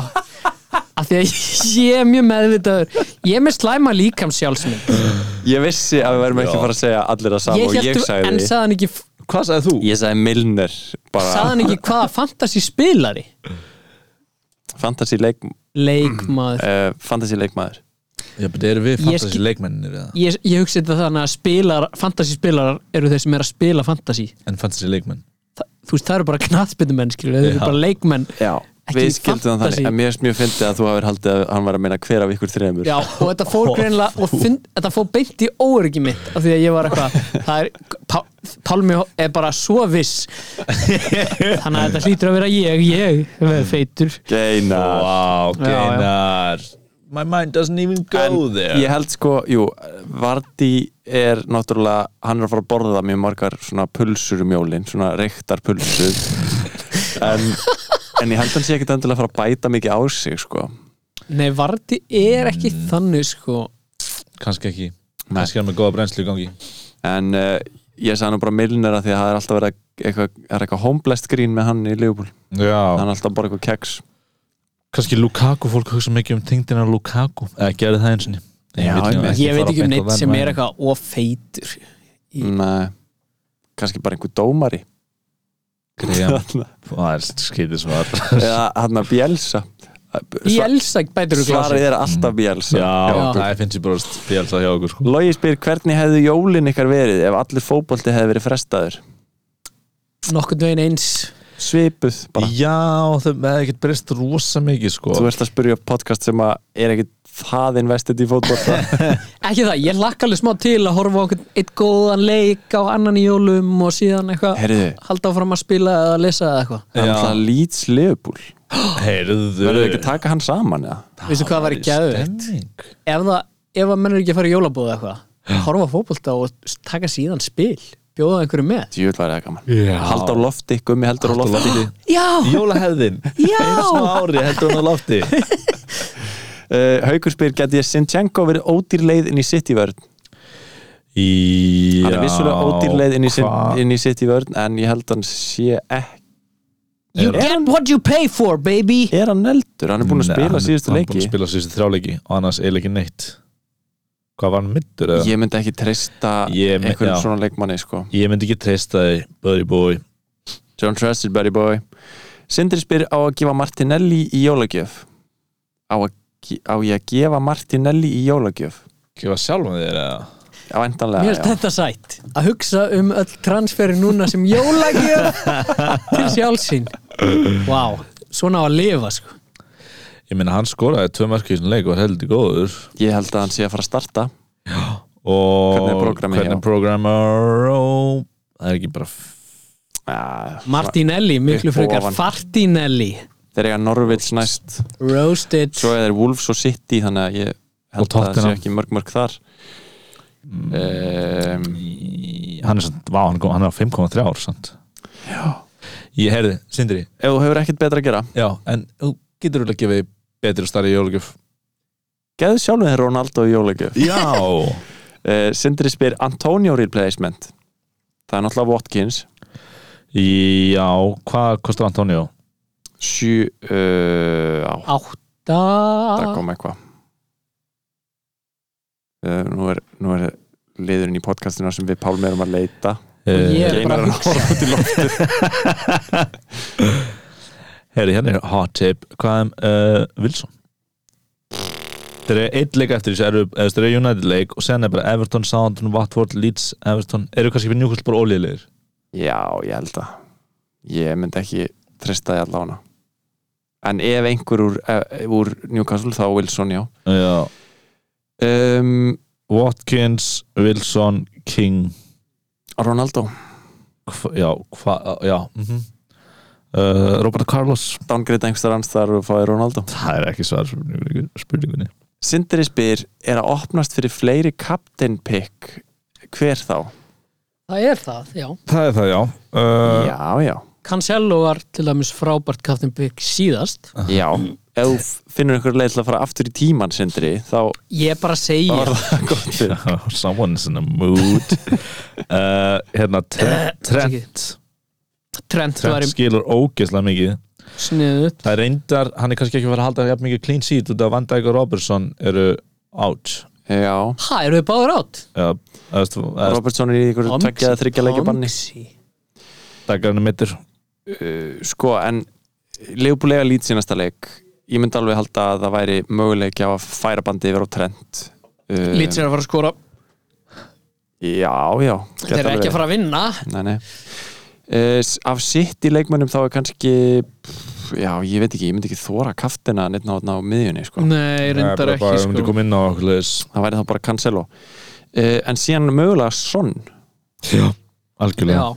D: Af því að ég er mjög meðvitaður Ég er með slæma líkam sjálfsmynd
B: Ég vissi að við verðum ekki
C: Já.
B: að fara að segja allir það sama
D: Ég
B: og ég
D: held, en
B: sagði
D: sagði hann ekki
C: Hvað sagði þú?
B: Ég sagði Milner bara
D: Sagði hann ekki hvaða fantasy spilari
B: fantasy, leik,
D: Leikmaður
B: uh, fantasy leikmaður
C: Já, betur erum við
D: Ég skil-
C: fantasy leikmennir eða?
D: Ég, ég hugsi þetta þannig að spilar, fantasy spilarar eru þeir sem er að spila fantasy
C: En fantasy leikmenn
D: Þa, Þú veist, það eru bara knattbyndumenn, skilur Þeir eru
C: Já.
D: bara leikmenn
B: Já,
D: Ekki
B: við skildum það
D: fantasy.
B: þannig En mér finnst mjög fyndið að þú hafir haldið að hann var að meina hver af ykkur þreymur
D: Já, og þetta fór greinlega og finn, þetta fór beint í óöryggi mitt af því að ég var eitthvað það er, Pá, Pálmi er bara svo viss þannig að þetta hlýtur að vera ég ég
B: Mm.
D: er feitur
B: Geinar
C: Vá,
D: Já, já.
C: geinar My mind doesn't even
B: En
C: go there
B: ég held sko, jú, Vardí er náttúrulega, hann er að fara að borða mjög margar svona pulsur um jólin svona reyktar pulsur en, en ég held hann sé ekkit endilega að fara að bæta mikið á sig sko
D: Nei, Vardi er ekki þannig sko
C: Kannski ekki Kannski er hann með góða brennslu í gangi
B: en uh, ég sagði nú bara millinera því að það er alltaf verið að- eitthvað, það er eitthvað homeblessed grín með hann í Liverpool
C: Já
B: hann er alltaf að borða eitthvað keks
C: Kannski Lukaku, fólk hugsa mikið um tengdina Lukaku Eða gerði það einsinni
B: Já, einmitt.
D: ég veit ekki um neitt sem er eitthvað ofeitur Í-
B: Nei, um, eh, kannski bara einhver dómari
C: eitthvað Það er skýtið svar
B: eða hann að bjelsa
D: Bjelsa bætur úr
B: svarið
D: glasi
B: er alltaf bjelsa
C: Mm. Já,
D: okkur.
C: það finnst ég bara spjálsa hjá okkur sko.
B: Logi spyr hvernig hefðu jólin ykkar verið ef allir fótbolti hefði verið frestaður
D: nokkurn veginn eins
B: svipuð bara
C: Já, það með ekkert breyst rosa mikið sko.
B: þú ert að spyrja podcast sem að er ekkit það investið í fótbolta
D: ekki það, ég lakka alveg smá til að horfa á einhvern eitt góðan leik á annan í jólum og síðan eitthvað
B: heyrðu
D: halda áfram að spila eða lesa eða eitthvað
B: það er
C: Já.
B: alltaf Leeds Liverpool
C: Heyrðu
B: verður ekki að taka hann saman eða?
D: veistu hvað var í gæðu
C: Stemming
D: ef, það- ef að menn er ekki að fara í jólabóð eða eitthvað horfa á fótbolta og s- taka síðan spil bjóða einhverju með
B: djúvel var það gaman
C: Já.
B: hald á lofti, gummi heldur á lofti
D: já,
C: Jólahefðin
D: Já.
C: Einu svona ári heldur hún á lofti
B: uh, Haukur spyr geti ég Sinchenko verið ódýr leið inn í City vörn
C: Já
B: hann er vissulega ódýr leið inn í, sin,
C: hvað-
B: inn í City vörn en ég held hann sé ekki
D: you get what you pay for baby
B: er hann eldur, hann er búin að
C: Nei,
B: spila
C: hann-
B: síðustu
C: Hann er búin
B: leiki
C: að spila síðustu þrjáleiki og annars eiginlega ekki neitt Hvað var hann middur? Ég,
B: ég myndi ekki treysta
C: Ég mynd-
B: einhverjum
C: já.
B: svona leikmanni sko.
C: ég myndi ekki treysta þig Buddy boy
B: John Trusted Buddy Boy Sindri spyr á að gefa Martinelli í jólagjöf á, að, ge- á ég að gefa Martinelli í jólagjöf
C: Gefa sjálfum þér eða?
B: á
D: Mér
B: endanlega
D: finnst þetta sætt að hugsa um öll transferi núna sem jólagjöf til sjálfsinn Vá, svona á að lifa sko
C: Ég meina hann skoraði tvö mörk í þessum leik og var heldur góður
B: ég held að hann sé að fara að starta
C: og
B: Hvernig er prógrammið hjá?
C: hvernig er programmer og það er ekki bara
B: ja,
D: Martinelli, miklu
B: Upp og
D: frekar
B: ofan.
D: Fartinelli
B: þeir eiga Norvits næst
D: Roasted
B: svo er þeir Wolves og City þannig að ég
C: Og
B: held að það sé
C: Tottenham.
B: ekki mörg mörg þar um,
C: hann er, samt, vá, hann kom, hann er á 5,3 ár sant? ég heyrði, Sindri
B: ef þú hefur ekkert betra að gera
C: já, en þú getur alveg að gefa betri og starri jólugjöf
B: geðu sjálfum þér Ronaldo í jólagjöf Eh,
C: já,
B: uh, Sindri spyr Antonio replacement það er náttúrulega Watkins
C: Já, hvað kostar Antonio?
B: 7 uh, á
D: átta
B: það kom eitthvað uh, nú, er, nú er liðurinn í podcastinu sem við Pálmi erum að leita
C: Eh,
D: Og ég- er bara
B: Geinar
D: að
B: er að horfa út í loftið
C: Herri, hérna er hot tip Hvað um uh, Wilson? Þeir eru eitt leik eftir þessu eru- eða Þeir eru United leik og sen er bara Everton, Southampton, Watford, Leeds, Everton Eru kannski fyrir njúkvöld bara ólíðilegir
B: já, ég held að ég myndi ekki trista því allána en ef einhver úr, eh, úr Newcastle þá Wilson, já
C: Já
B: um,
C: Watkins, Wilson, King
B: Ronaldo,
C: hva, Já, hvað, já mm uh, Robert Carlos
B: downgreita einhverstaðar hans þar og fáið Ronaldo
C: Það er ekki svar spurningu- spurningunni
B: Sindri spyr, er að opnast fyrir fleiri captain pick hver þá?
D: það er það, já
C: Það er það, já uh,
B: já, já,
D: Cancelo var til dæmis frábært Captain Big síðast
B: já ef þú finnur einhver leið til að fara aftur í tíman Sindri, þá
D: ég bara segi
B: var það gott fyrir
C: Someone's in a mood uh, Hérna, Trent, Trent
D: Eh, Trent var
C: Trent skilur ógeðslega mikið
D: sniðut
C: Það er reyndar, hann er kannski ekki að fara að halda jafn mikið clean sheet út af Van Dijk og Robertson eru out
B: já,
D: ha, eru þið báður átt?
C: eða, eða, þú- eða
B: Robertson er í einhverju
D: Omsi,
B: tveggja eða þryggja leikja banni
D: Omsi.
C: dagarinn er mittur
B: Uh, sko, en leifbúlega lít sínasta leik ég myndi alveg halda að það væri möguleik á að færa bandi yfir á trend uh,
D: Leeds er að fara að skora
B: já, já
D: þeir eru ekki að fara að vinna
B: nei, nei. Uh, s- af sitt í leikmönnum þá er kannski pff, já, ég veit ekki, ég myndi ekki þóra kaftina neitt náðna á miðjunni sko.
D: nei, reyndar ekki
C: Við myndum
D: sko.
C: koma inn á okkur leðis
B: það væri þá bara Cancelo uh, en síðan mögulega Son
C: Já,
D: já,
C: algjörlega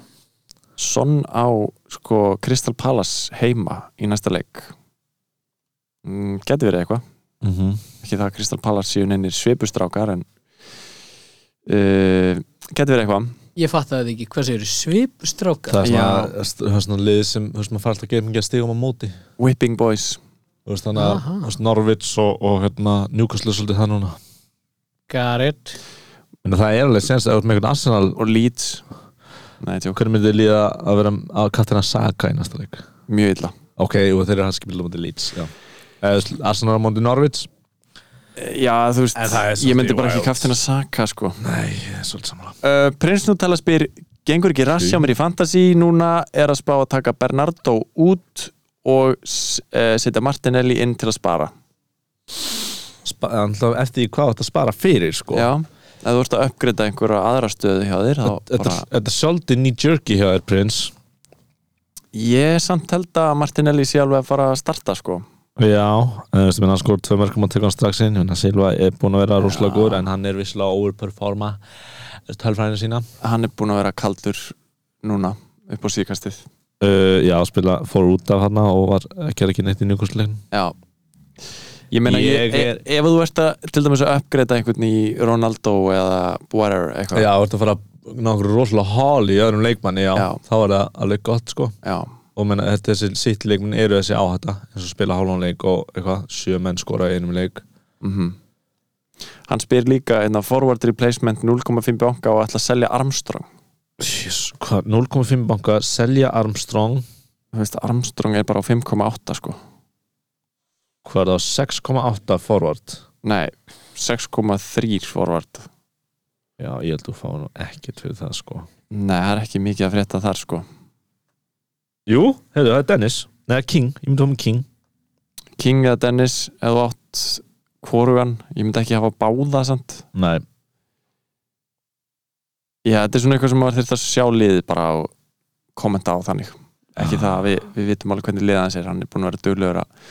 B: Son á sko Crystal Palace heima í næsta leik mm, geti verið eitthvað
C: mm
B: ekki það að Crystal Palace séu neynir svipustrákar en uh, geti verið eitthvað
D: ég fattaði það ekki hvað segir svipstráka
C: Það er
B: Já.
C: svona, það er svona leðið sem þú veist, maður fara alltaf að gefa mikið að stigum á móti
B: Whipping Boys
C: Þú veist, þannig að
D: Aha.
C: þú veist, Norvits og, og hérna, Newcastle er svolítið það núna
D: Garrett
C: En það er alveg sens að ef þú ert með einhvern Arsenal
B: og Leeds Nei, tjók,
C: Hvernig myndið líða að vera að kattina Saka í næsta leik?
B: mjög illa
C: Ok, og þeir eru hans skipilum á móti Leeds já. Eða, þú veist, Arsenal á móti Norvits
B: Já, þú veist,
C: En það er
B: ég myndi
C: svolítið
B: bara ekki
C: wild.
B: kaftin að saka sko
C: Nei, ég er svolítið samanlega
B: uh, Prins Nutella spyr gengur ekki rass hjá mér í Fantasí núna er að spá að taka Bernardo út og uh, setja Martinelli inn til að spara
C: Spa- alltaf eftir því hvað þú ætti að spara fyrir sko.
B: Já, ef þú ert að uppgreita einhverja aðra stöðu hjá þér þá
C: þetta,
B: bara,
C: þetta er svolítið New Jerky hjá þér prins
B: ég samt held að Martinelli sé alveg að fara að starta sko
C: já, en þú veist, menn hann skor tvö mörgum og tekur hann strax inn, hann Silva er búin að vera rosalega góður en hann er visslega að overperforma eh, tölfræðina sína
B: hann er búin að vera kaldur núna upp á síkastið
C: uh, já, spila, fór út af hann og var ekki ekki neitt í njögkurslegin
B: Já Ég meina, ég
C: Ég er-
B: e, ef þú ert að til dæmis að uppgreita einhvern í Ronaldo eða whatever eitthvað
C: já, þú ert að fara að ná okkur rosalega hál í öðrum leikmanni, já,
B: Já.
C: þá er það alveg gott sko,
B: Já,
C: og menna, þetta þessi sitt leikmann eru þessi áhætta, eins og spila hálfanleik og eitthvað, sjö menn skora í einum leik
B: mhm. Hann spyr líka einna forward replacement 0,5 banka og ætla að selja Armstrong
C: Jés, hvað, 0,5 banka selja Armstrong
B: Þú veist, Armstrong er bara á 5,8 sko
C: hvað er það, 6,8 forward
B: Nei, 6,3 forward
C: já, ég held að fá nú ekkert fyrir það sko
B: Nei, það er ekki mikið að frétta þar sko
C: jú, heyrðu, það er Dennis neða King, ég myndi hafa með King
B: King eða Dennis, ef þú átt Korugan, ég myndi ekki hafa báða samt
C: nei,
B: Já, þetta er svona eitthvað sem maður þurft að sjá liðið bara og kommenta á þannig ekki
C: Ah.
B: það að við, við vitum alveg hvernig liðan sér hann er búin að vera duglegur að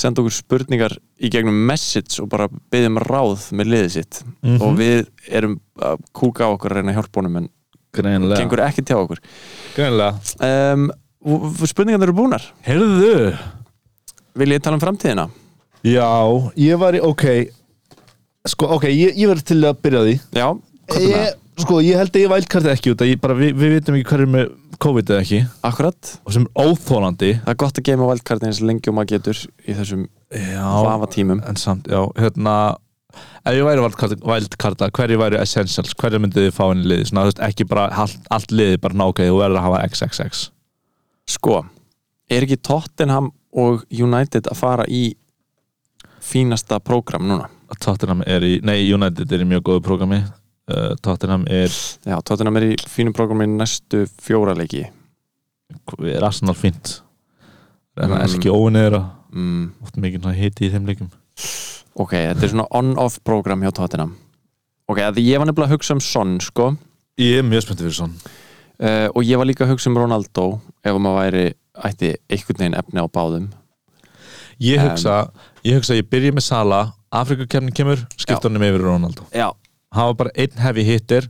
B: senda okkur spurningar í gegnum message og bara byggjum ráð með liðið sitt
C: mm
B: og við erum að kúka á okkur að reyna að hjálpa honum en
C: greinlega,
B: gengur ekki til okkur
C: greinlega.
B: um, Spurningarnar eru búnar
C: heyrðu,
B: Vil ég tala um framtíðina?
C: já ég var í, ok sko, ok, ég, ég verði til að byrja á því
B: Já, hvað er það?
C: ég, sko, ég held að ég vældkarti ekki út að ég bara, við, við vitum ekki hverju með COVID eða ekki,
B: Akkurat,
C: og sem er óþólandi
B: það er gott að geima valdkartin eins lengi og maður getur í þessum
C: já,
B: vafa tímum
C: en samt, já, hérna ef ég væri wildcarda, wildcarda hverju væri essentials, hverju myndið þið fá inn í liði svona, þú veist, ekki bara allt, allt liði bara ná, ok, þú verður að hafa XXX
B: sko, er ekki Tottenham og United að fara í fínasta prógram núna
C: Tottenham er í, nei United er í mjög góðu prógrami uh, Tottenham er,
B: já, Tottenham er í fínu prógrami næstu fjóra leiki
C: er Arsenal fínt er
B: Mm.
C: það mm. ekki óvinnir og
B: mm,
C: oft mikið svona hiti í þeim leikum
B: ok, þetta er svona on-off prógram hjá Tottenham ok, að því ég var nefnilega að hugsa um Son sko,
C: Ég er mjög spenntið fyrir svona
B: uh, og ég var líka að hugsa um Ronaldo ef maður væri, ætti einhvern veginn efni á báðum
C: Ég
B: En-
C: hugsa, ég hugsa að ég byrja með Sala Afrikakefnin kemur, skipta honum yfir í Ronaldo
B: já,
C: hafa bara einn heavy hitter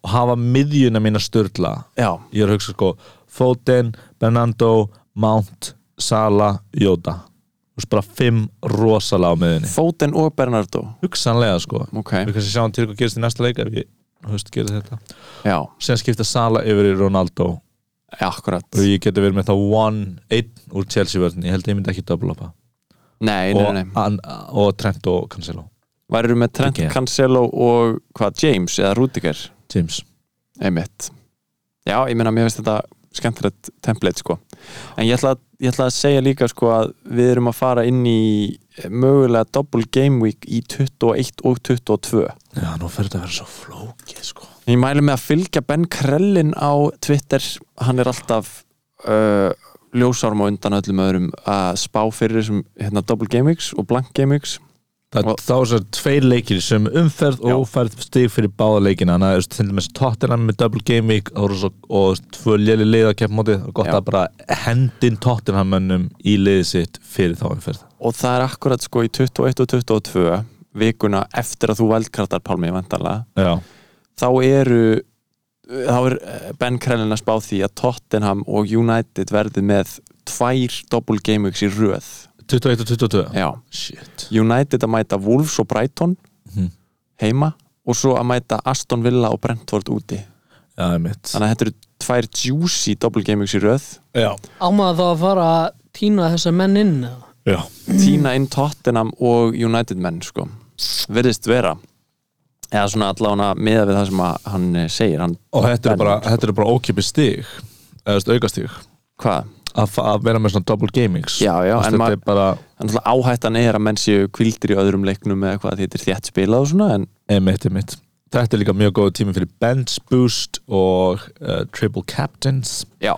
C: og hafa miðjuna mína störla
B: já,
C: ég er að hugsa sko Foden, Bernardo, Mount Sala, Jóta þú veist bara fimm rosalega á miðjunni
B: Foden og Bernardo
C: hugsanlega sko
B: ok,
C: við kannski sjáum til hvað gerist í næsta leik ef ég höfst gera þetta
B: já,
C: sem skipta Sala yfir í Ronaldo
B: akkurat
C: og ég geti verið með þá one, einn úr Chelsea vörðin ég held að ég myndi ekki dobbuloppa
B: nei, nei,
C: og,
B: nei, nei.
C: an- og Trent og Cancelo
B: væriðu með Trent,
C: Ekki.
B: Cancelo og hvað, James eða Rudiger
C: James
B: einmitt já, ég meina, mér finnst þetta skemmtilegt template sko, en ég ætla, að- ég ætla að segja líka sko að við erum að fara inn í mögulega double game week í 21 og 22
C: já, nú fer þetta að vera svo flókið sko
B: ég mælu með að fylgja Ben Krellin á Twitter, hann er alltaf uh, ljósárm og undan öllum öðrum að spá fyrir þessum hérna, double game weeks og blank game weeks
C: Það,
B: Og-
C: þá er þessar tveir leikir sem umferð og
B: Já.
C: færð stig fyrir báða leikina þannig að þú veist, til dæmis Tottenham með double game week og, og, og tvö léli leið að keppa mótið og gott
B: Já.
C: að bara hendin Tottenham mönnum í liðið sitt fyrir þá umferð
B: og það er akkurat sko í 21 og 22 vikuna eftir að þú veldkartar Pálmi vantarlega
C: Já,
B: þá eru þá er eh, Ben Krellin að spá því að Tottenham og United verði með tvær double game weeks í röð
C: 21 og 22
B: Já.
C: Shit
B: United að mæta Wolves og Brighton
C: Mhm.
B: heima og svo að mæta Aston Villa og Brentford úti
C: Já, ég mitt
B: þannig að þetta eru tvær juicy double game weeks í röð
C: Já,
D: Ámaða þá að fara að týna þessa menn inn eða?
C: já
B: tína inn Tottenham og United menn sko, verðist vera eða svona allavega meða við það sem að hann eh, segir, hann
C: Og þetta
B: Ben,
C: eru bara,
B: sko.
C: þetta eru bara ókipi stig eða þú veist, aukastig
B: hvað?
C: að, fa- að vera með svona double game weeks
B: Já, já,
C: Þú
B: en
C: veist, Þetta
B: maður-
C: er bara,
B: Þannig að áhættan er að menn séu kvildir í öðrum leiknum eða hvað þetta er þétt spilað og svona en
C: ég mitt, ég mitt Þetta er líka mjög góð tími fyrir bench boost og uh, triple captains
B: já,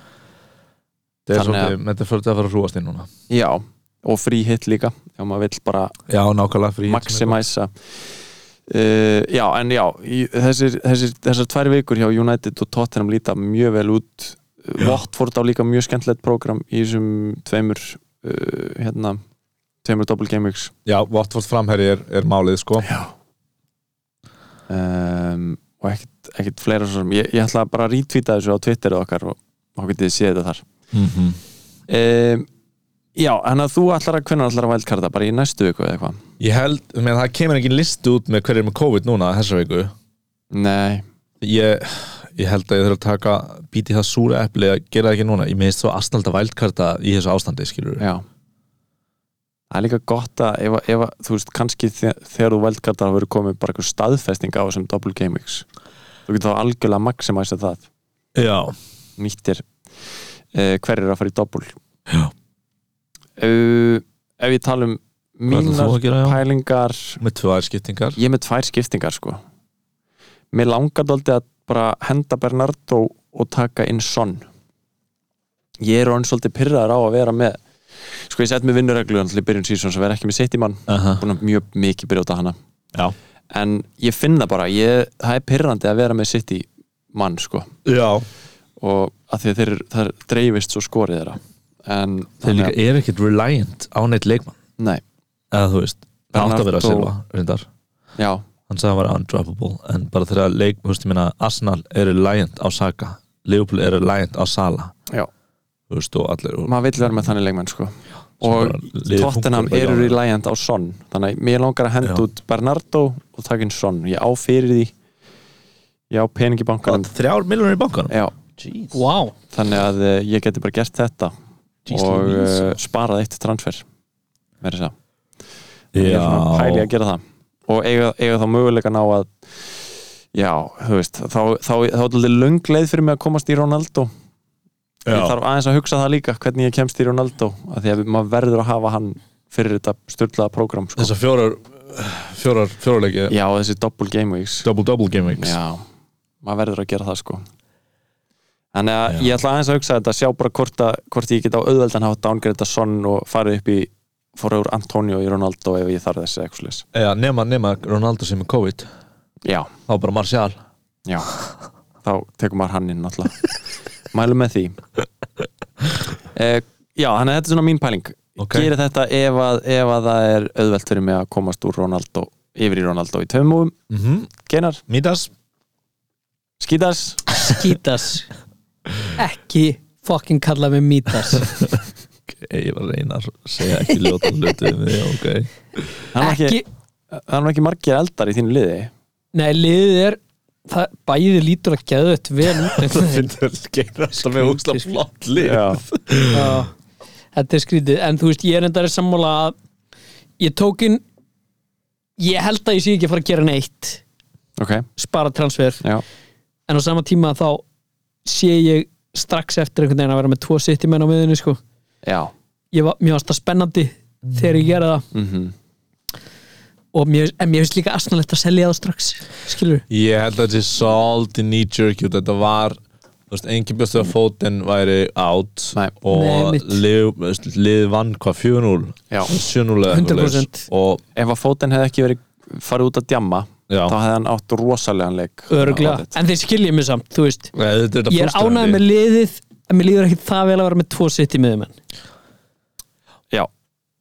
C: Þetta
B: Þannig
C: er
B: að-
C: svolítið, þetta er svolítið að fara að rúast inn núna
B: já og frí hitt líka, já maður vill bara
C: Já, nákvæmlega fyrir
B: maximæsa uh, já, en já í, þessir, þessir, þessar tvær vikur hjá United og Tottenham líta mjög vel út já. Watford á líka mjög skemmtilegt program í þessum tveimur uh, hérna, tveimur double game weeks
C: Já, Watford framherri er, er málið sko
B: já um, og ekkert, ekkert fleira svo sem ég, ég ætla bara að retweeta þessu á Twitterið okkar og þá getið þið séð þetta þar
C: mm -hmm.
B: um, Já, hann að þú ætlar að hvernig ætlar að vældkarta bara í næstu viku eða eitthvað
C: Ég held, menn það kemur ekki listi út með hverju er með COVID núna þessa viku
B: Nei,
C: Ég, ég held að ég þurf að taka bíti það súra epli að gera það ekki núna Ég minnst svo astnalda vældkarta í þessu ástandi skilur
B: já Það er líka gott að ef, ef þú veist, kannski þe- þegar þú vældkartar hafa verið komið bara eitthvað staðfesting á þessum double game weeks þú getur þá algjörlega að maximæsa það
C: Já,
B: nýttir uh, hverjir að fara í double
C: já
B: uh, Ef ég tala um
C: Hvað er
B: mínar
C: þú að gera já?
B: pælingar
C: Með tvö aðeins skiptingar
B: ég er með tvær skiptingar sko mér langar daldi að bara henda Bernardo og taka inn Son ég er hann svolítið pyrraður á að vera með sko ég sett með vinnureglu hann til í byrjun síðan sem vera ekki með sitt í mann
C: Aha.
B: búin að mjög mikið brjóta hana
C: Já.
B: en ég finn það bara ég, það er pyrrandi að vera með sitt í mann sko
C: Já,
B: og að því að þeir, þeir dreifist svo skorið þeirra en
C: þeir líka er ekkert reliant á neitt leikmann
B: nei,
C: Eða þú veist, það átt að vera að
B: Bernardo-
C: silfa reyndar
B: já,
C: hann sagði að hann var undroppable en bara þegar leik, þú veist, ég meina Arsenal er reliant á Saka Liverpool er reliant á Sala
B: já
C: þú veist, og allir og,
B: maður vill vera með þannig leikmenn sko
C: sem
B: og
C: bara liðið
B: Tottenham
C: funkar bara
B: eru
C: hjá-
B: reliant á Son þannig að mér langar að henda
C: Já.
B: út Bernardo og taka inn Son, ég á fyrir því ég á pening í
C: Hvað,
B: bankanum
C: þrjár miljonir í bankanum
B: Já,
E: Jeez.
D: Vá,
B: þannig að eh, ég geti bara gert þetta
E: Jeez
B: og
E: Louise.
B: uh, sparað eitt transfer verður það ég er svona pæli
C: já,
B: að gera það og eiga, eiga þá möguleika ná að já, þú veist þá, þá, þá, þá er þetta löng leið fyrir mig að komast í Ronaldo ég þarf aðeins að hugsa það líka hvernig ég kemst í Ronaldo að því að maður verður að hafa hann fyrir þetta styrlaða prógram sko.
C: Þessar fjórar, fjórar, fjórarleiki
B: já, og þessi double game weeks
C: Double-double game weeks
B: já, maður verður að gera það sko þannig að ég ætla aðeins að hugsa þetta sjá bara hvort, að, hvort ég get á auðveldan hátt ángreita sonn og farið upp í fóra úr Antonio í Ronaldo ef ég þarf þessi eitthvað slags
C: Já, nema, nema Ronaldo sem er COVID
B: já,
C: þá bara Martial
B: já, þá tekum maður hann inn alltaf mælum með því eh, já, þannig að þetta er svona mín pæling
C: Ok.
B: gerir þetta ef að, ef að það er auðvelt fyrir mig að komast úr Ronaldo yfir í Ronaldo í tömum
C: mm -hmm.
B: genar,
C: Midas
B: skítas
D: skítas ekki fucking kalla mig mítas
C: Ég var að reyna að segja ekki ljóta hluti um því, ok
B: það er nú
D: ekki,
B: ekki, það er nú ekki margir eldar í þínu liði
D: nei liðið er það, bæði lítur að geða þetta vel út einhvern veginn.
C: finnst að geira alltaf með ógislega flott lið
B: Já.
D: Já, þetta er skrítið en þú veist, ég er endari sammála að ég tók inn ég held að ég sé ekki að fara að gera neitt
B: ok,
D: spara transfer
B: já
D: en á sama tíma þá sé ég strax eftir einhvern veginn að vera með tvo sittimenn á miðunni sko.
B: Já,
D: ég var, mér varst það spennandi þegar ég gera það
B: mm
D: og mér, en mér finnst líka asnalegt að selja það strax skilur,
C: Ég held að þetta er svolítið knee-jerky út, þetta var þú veist, engin bjóstu að fótinn væri out
B: Nei.
C: og
D: Nei, mitt.
C: lið, þú veist, lið vann hvað 4-0
B: Já.
C: 7-0 eða eitthvað
D: 100%.
C: leis. og
B: ef að fótinn hefði ekki verið farið út að djamma
C: Já.
B: þá hefði hann átt rosalegan leik
D: örglega
B: Já,
D: en þeir skilja mig samt, þú veist
C: Nei, eh, þetta er þetta
D: ég er ánægð með liðið en mér líður ekki það vel að vera með tvo sittimenn
B: Já,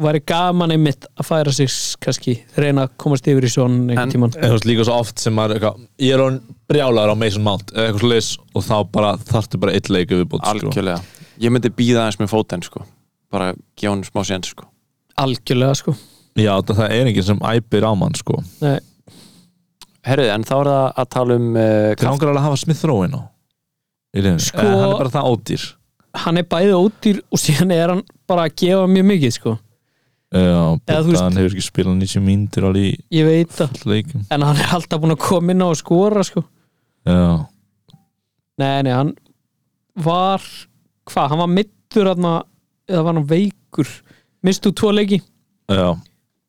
D: væri gaman einmitt að færa sig kannski, reyna að komast yfir í svona
B: En-
D: einhvern tíman
C: En þú veist líka svo oft sem maður er eitthvað, ég er hann brjálaður á Mason Mount eða eitthvað slis og þá bara þarftu bara eitt leik viðbútt sko.
B: algjörlega Ég myndi býða aðeins með fótinn sko bara gefa hann smá séns sko
D: algjörlega sko
C: Já, það, það er enginn sem æpir á mann sko.
D: Nei,
B: Herruði, en þá er það að tala um uh,
C: Þeir ángur alveg að hafa Smith Rowe inn á í liðinu,
D: Sko-
C: en hann er bara það ódýr
D: hann er bæði ódýr og síðan er hann bara að gefa mjög mikið sko
C: Já,
D: Eða þú
C: Búta,
D: veist-
C: hann hefur ekki spilað 90 mínútur alveg í
D: ég veit það,
C: all leikum
D: en hann er alltaf búin að koma inn á og skora sko
C: Já,
D: nei, nei, hann var hvað, hann var middur aðna, eða var hann veikur mistu tvo leiki
C: já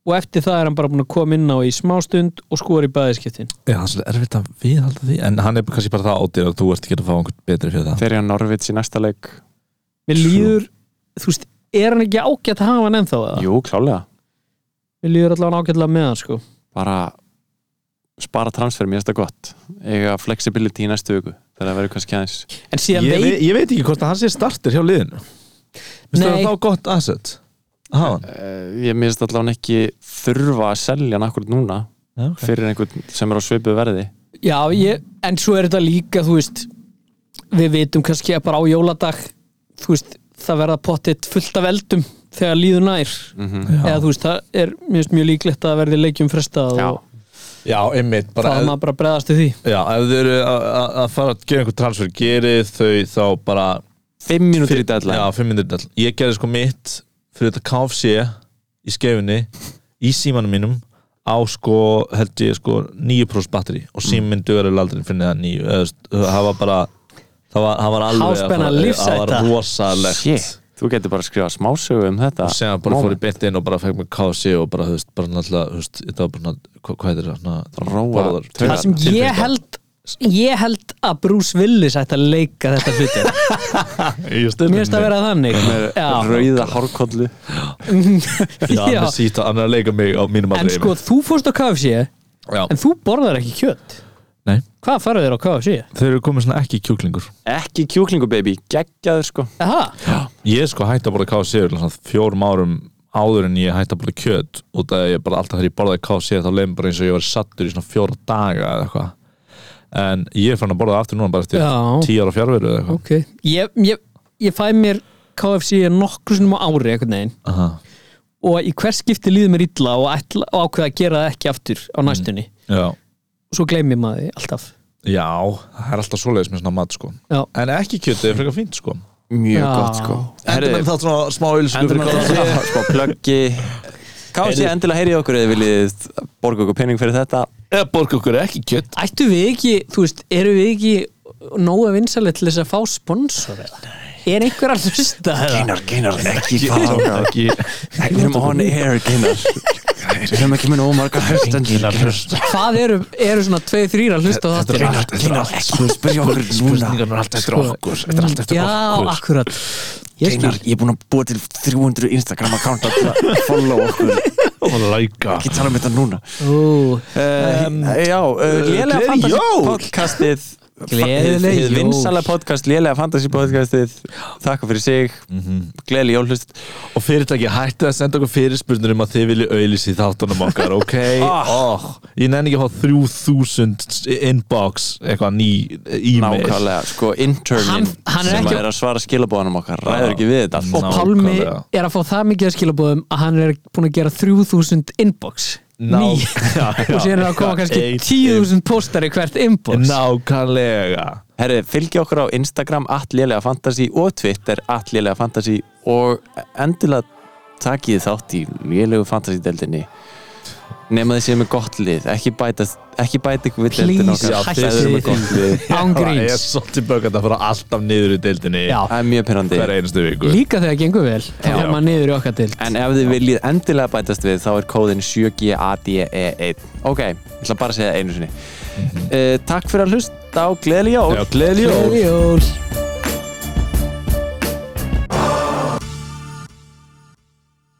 D: og eftir það er hann bara búin að koma inn á í smástund og skora í bæðiskiptin
C: Já, það er svolítið erfitt að viðhalda því en hann er kannski bara það ódýr að þú ert ekki að fá einhvern betri fyrir það
B: þegar hann Norvits í næsta leik
D: mér líður, þú veist, er hann ekki ágætt að hafa hann ennþá eða?
B: Jú, klálega
D: Mér líður allavega ágætlega með hann sko
B: bara spara transfer, mér finnst það gott eiga flexibility í næstu viku þegar það verður kannski aðeins
D: En síðan
C: ég,
D: veit
C: veit, ég veit ekki hvort að hann sé startur hjá liðinu Vist
D: Nei.
C: það þá gott asset að hafa hann
B: uh, ég mér finnst allavega ekki þurfa að selja hann akkur núna
C: Já, ok.
B: fyrir einhvern sem er á svipu verði
D: Já, ég, en svo er þetta líka þú veist, við vitum kannski að bara á jóladag þú veist, það verða pottitt fullt af eldum þegar líður nær eða þú veist, það er mjög, mjög líklegt að verði leikjum frestað
B: Já.
D: og
C: Já, einmitt
D: það er maður bara að bregðast við því
C: Já, ef þau eru að- að að fara að gera einhver transfer gerið þau þá bara
B: Fimm mínútur í deadline
C: Já, fimm minnir dell Ég gerði sko mitt fyrir þetta KFC í skefinni í símanum mínum á sko, held ég sko 9% batteri og
D: Mm.
C: síminn dugar eða aldrei fyrir neða 9 eða, þú veist, það var bara það var, það var alveg að
D: Háspenna
C: fara-
D: lífshætta.
C: Það var rosalegt
B: Shit, þú getur bara að skrifa smásögu um þetta
C: og sem hann bara fór í beint inn og bara fekk mig KFC og bara, þú veist, bara náttúrulega þú veist, þetta var bara, náttúrulega- hvað, hvað heitir það? svona-
B: Róa
C: Borðar-
B: taugar.
D: Það sem ég held ég held að Bruce Willis ætti að leika þetta hluti Mér finnst að vera þannig Já,
B: Rauða hárkollu
C: Já, hann er
D: já.
C: sítt að hann er að leika mig á mínum
D: En
C: aldrei
D: sko, þú fórst á KFC
C: Já.
D: en þú borðar ekki kjött
C: Nei.
D: Hvað farið þér á KFC?
C: Þeir eru komið svona ekki kjúklingur
B: Ekki kjúklingu baby, geggjaður sko
D: Aha.
C: Ég sko hætti að borða KFC fyrir svona fjórum árum áður en ég hætti að borða kjöt út af að ég bara alltaf þegar ég borðaði KFC þá leiðum bara eins og ég var sattur í svona fjóra daga eða eitthvað en ég er fann að borða það aftur núna bara eftir
D: Já.
C: tíu ára fjárveru eða eitthvað
D: Ok, ég, ég, ég fæ mér KFC nokkru sinnum á ári einhvern veginn
C: Aha.
D: og í hvers skipti líður mér illa og, ætla, og ákveða að gera það ekki aftur á
C: Mm.
D: næstunni
C: Já.
D: og svo gleymi maður því alltaf
C: Já, það er alltaf svoleiðis með svona mat sko
D: Já,
C: En ekki kjötið er frekar fínt sko
B: Mjög
D: Já.
B: gott sko Herðu,
C: þátt svona smá ylsku
B: endur með það Sko plöggi Kási,
C: Heyrðu.
B: endilega heyrið okkur eða viljið borga okkur pening fyrir þetta
C: Eða borga okkur ekki kjöt
D: ættu við ekki, þú veist, eru við ekki nógu vinsalegt til þess að fá sponsor eða? er einhver að hlusta eða?
B: Geinar, geinar, ekki fara
C: ekki
B: Við erum on air, geinar Við erum ekki með nóg marga hlustendur
C: Enginn að hlusta.
D: hvað eru, eru svona 2-3 að hlusta á
C: Þetta
D: þáttir
C: er allt eftir
B: Geinar, ekki spyrja okkur núna
C: Spurningar er allt eftir okkur Þetta er allt eftir
D: já,
C: okkur
D: akkurat ég skil,
B: Geinar, ég er búin að búa til 300 Instagram accounta til að follow okkur
C: Og læka
B: Ekki tala um þetta núna
D: ú, Ehm,
B: Um, já, uh, Lélega
C: Gleðileg
B: Fantasy
C: jól!
B: podcastið
D: Gleðileg
B: hið- hið
D: jól.
B: vinsala podcast Lélega Fantasy podcastið Þakka fyrir sig mm Gleðileg jólhlust
C: Og fyrirtæki hætti að senda okkur fyrirspurnir um að þið vilji auðlýsa í þáttunum okkar, ok?
B: Ah.
C: oh. Ég nenni ekki að hafa 3000 inbox, eitthvað ný e-mail.
B: Nákvæmlega, sko internin
D: Hann- hann er
B: sem
D: ekki-
B: er að svara skilabóðanum okkar ræður ekki við þetta
D: og
B: allt.
C: Ná.
D: Pálmi
C: Nákvæmlega.
D: er að fá það mikið að skilabóðum að hann er búin að gera 3000 inbox
C: Ná-
D: ný
C: Já, já.
D: og síðan er að koma kannski
C: Eitt
D: 10.000 póstar í hvert inbox
C: Nákvæmlega.
B: Herri, fylgja okkur á Instagram atlélega fantasy og Twitter atlélega fantasy og endilega takiði þátt í lélegu fantasy deildinni nema þið séu með gott lið ekki bæta, ekki bæta ykkur við deildin
D: Please,
B: okkar
D: hættið
B: þið eruð með
D: því.
B: gott lið
D: án
C: Það er
D: gríns
C: svolítið bökand að fara alltaf niður í deildinni
D: já,
B: það er mjög pyrrandi
C: hver einustu viku.
D: líka þegar gengur vel þá
C: sko. Já.
D: er maður niður í okkar dild
B: En ef þið viljið endilega bætast við þá er kóðin 7GADE1 E Ok, ég ætla Eh, bara að segja það einu sinni uh, Takk fyrir að hlusta á Gleðli Jól
C: Já, gleðileg jól.
D: Gleðileg jól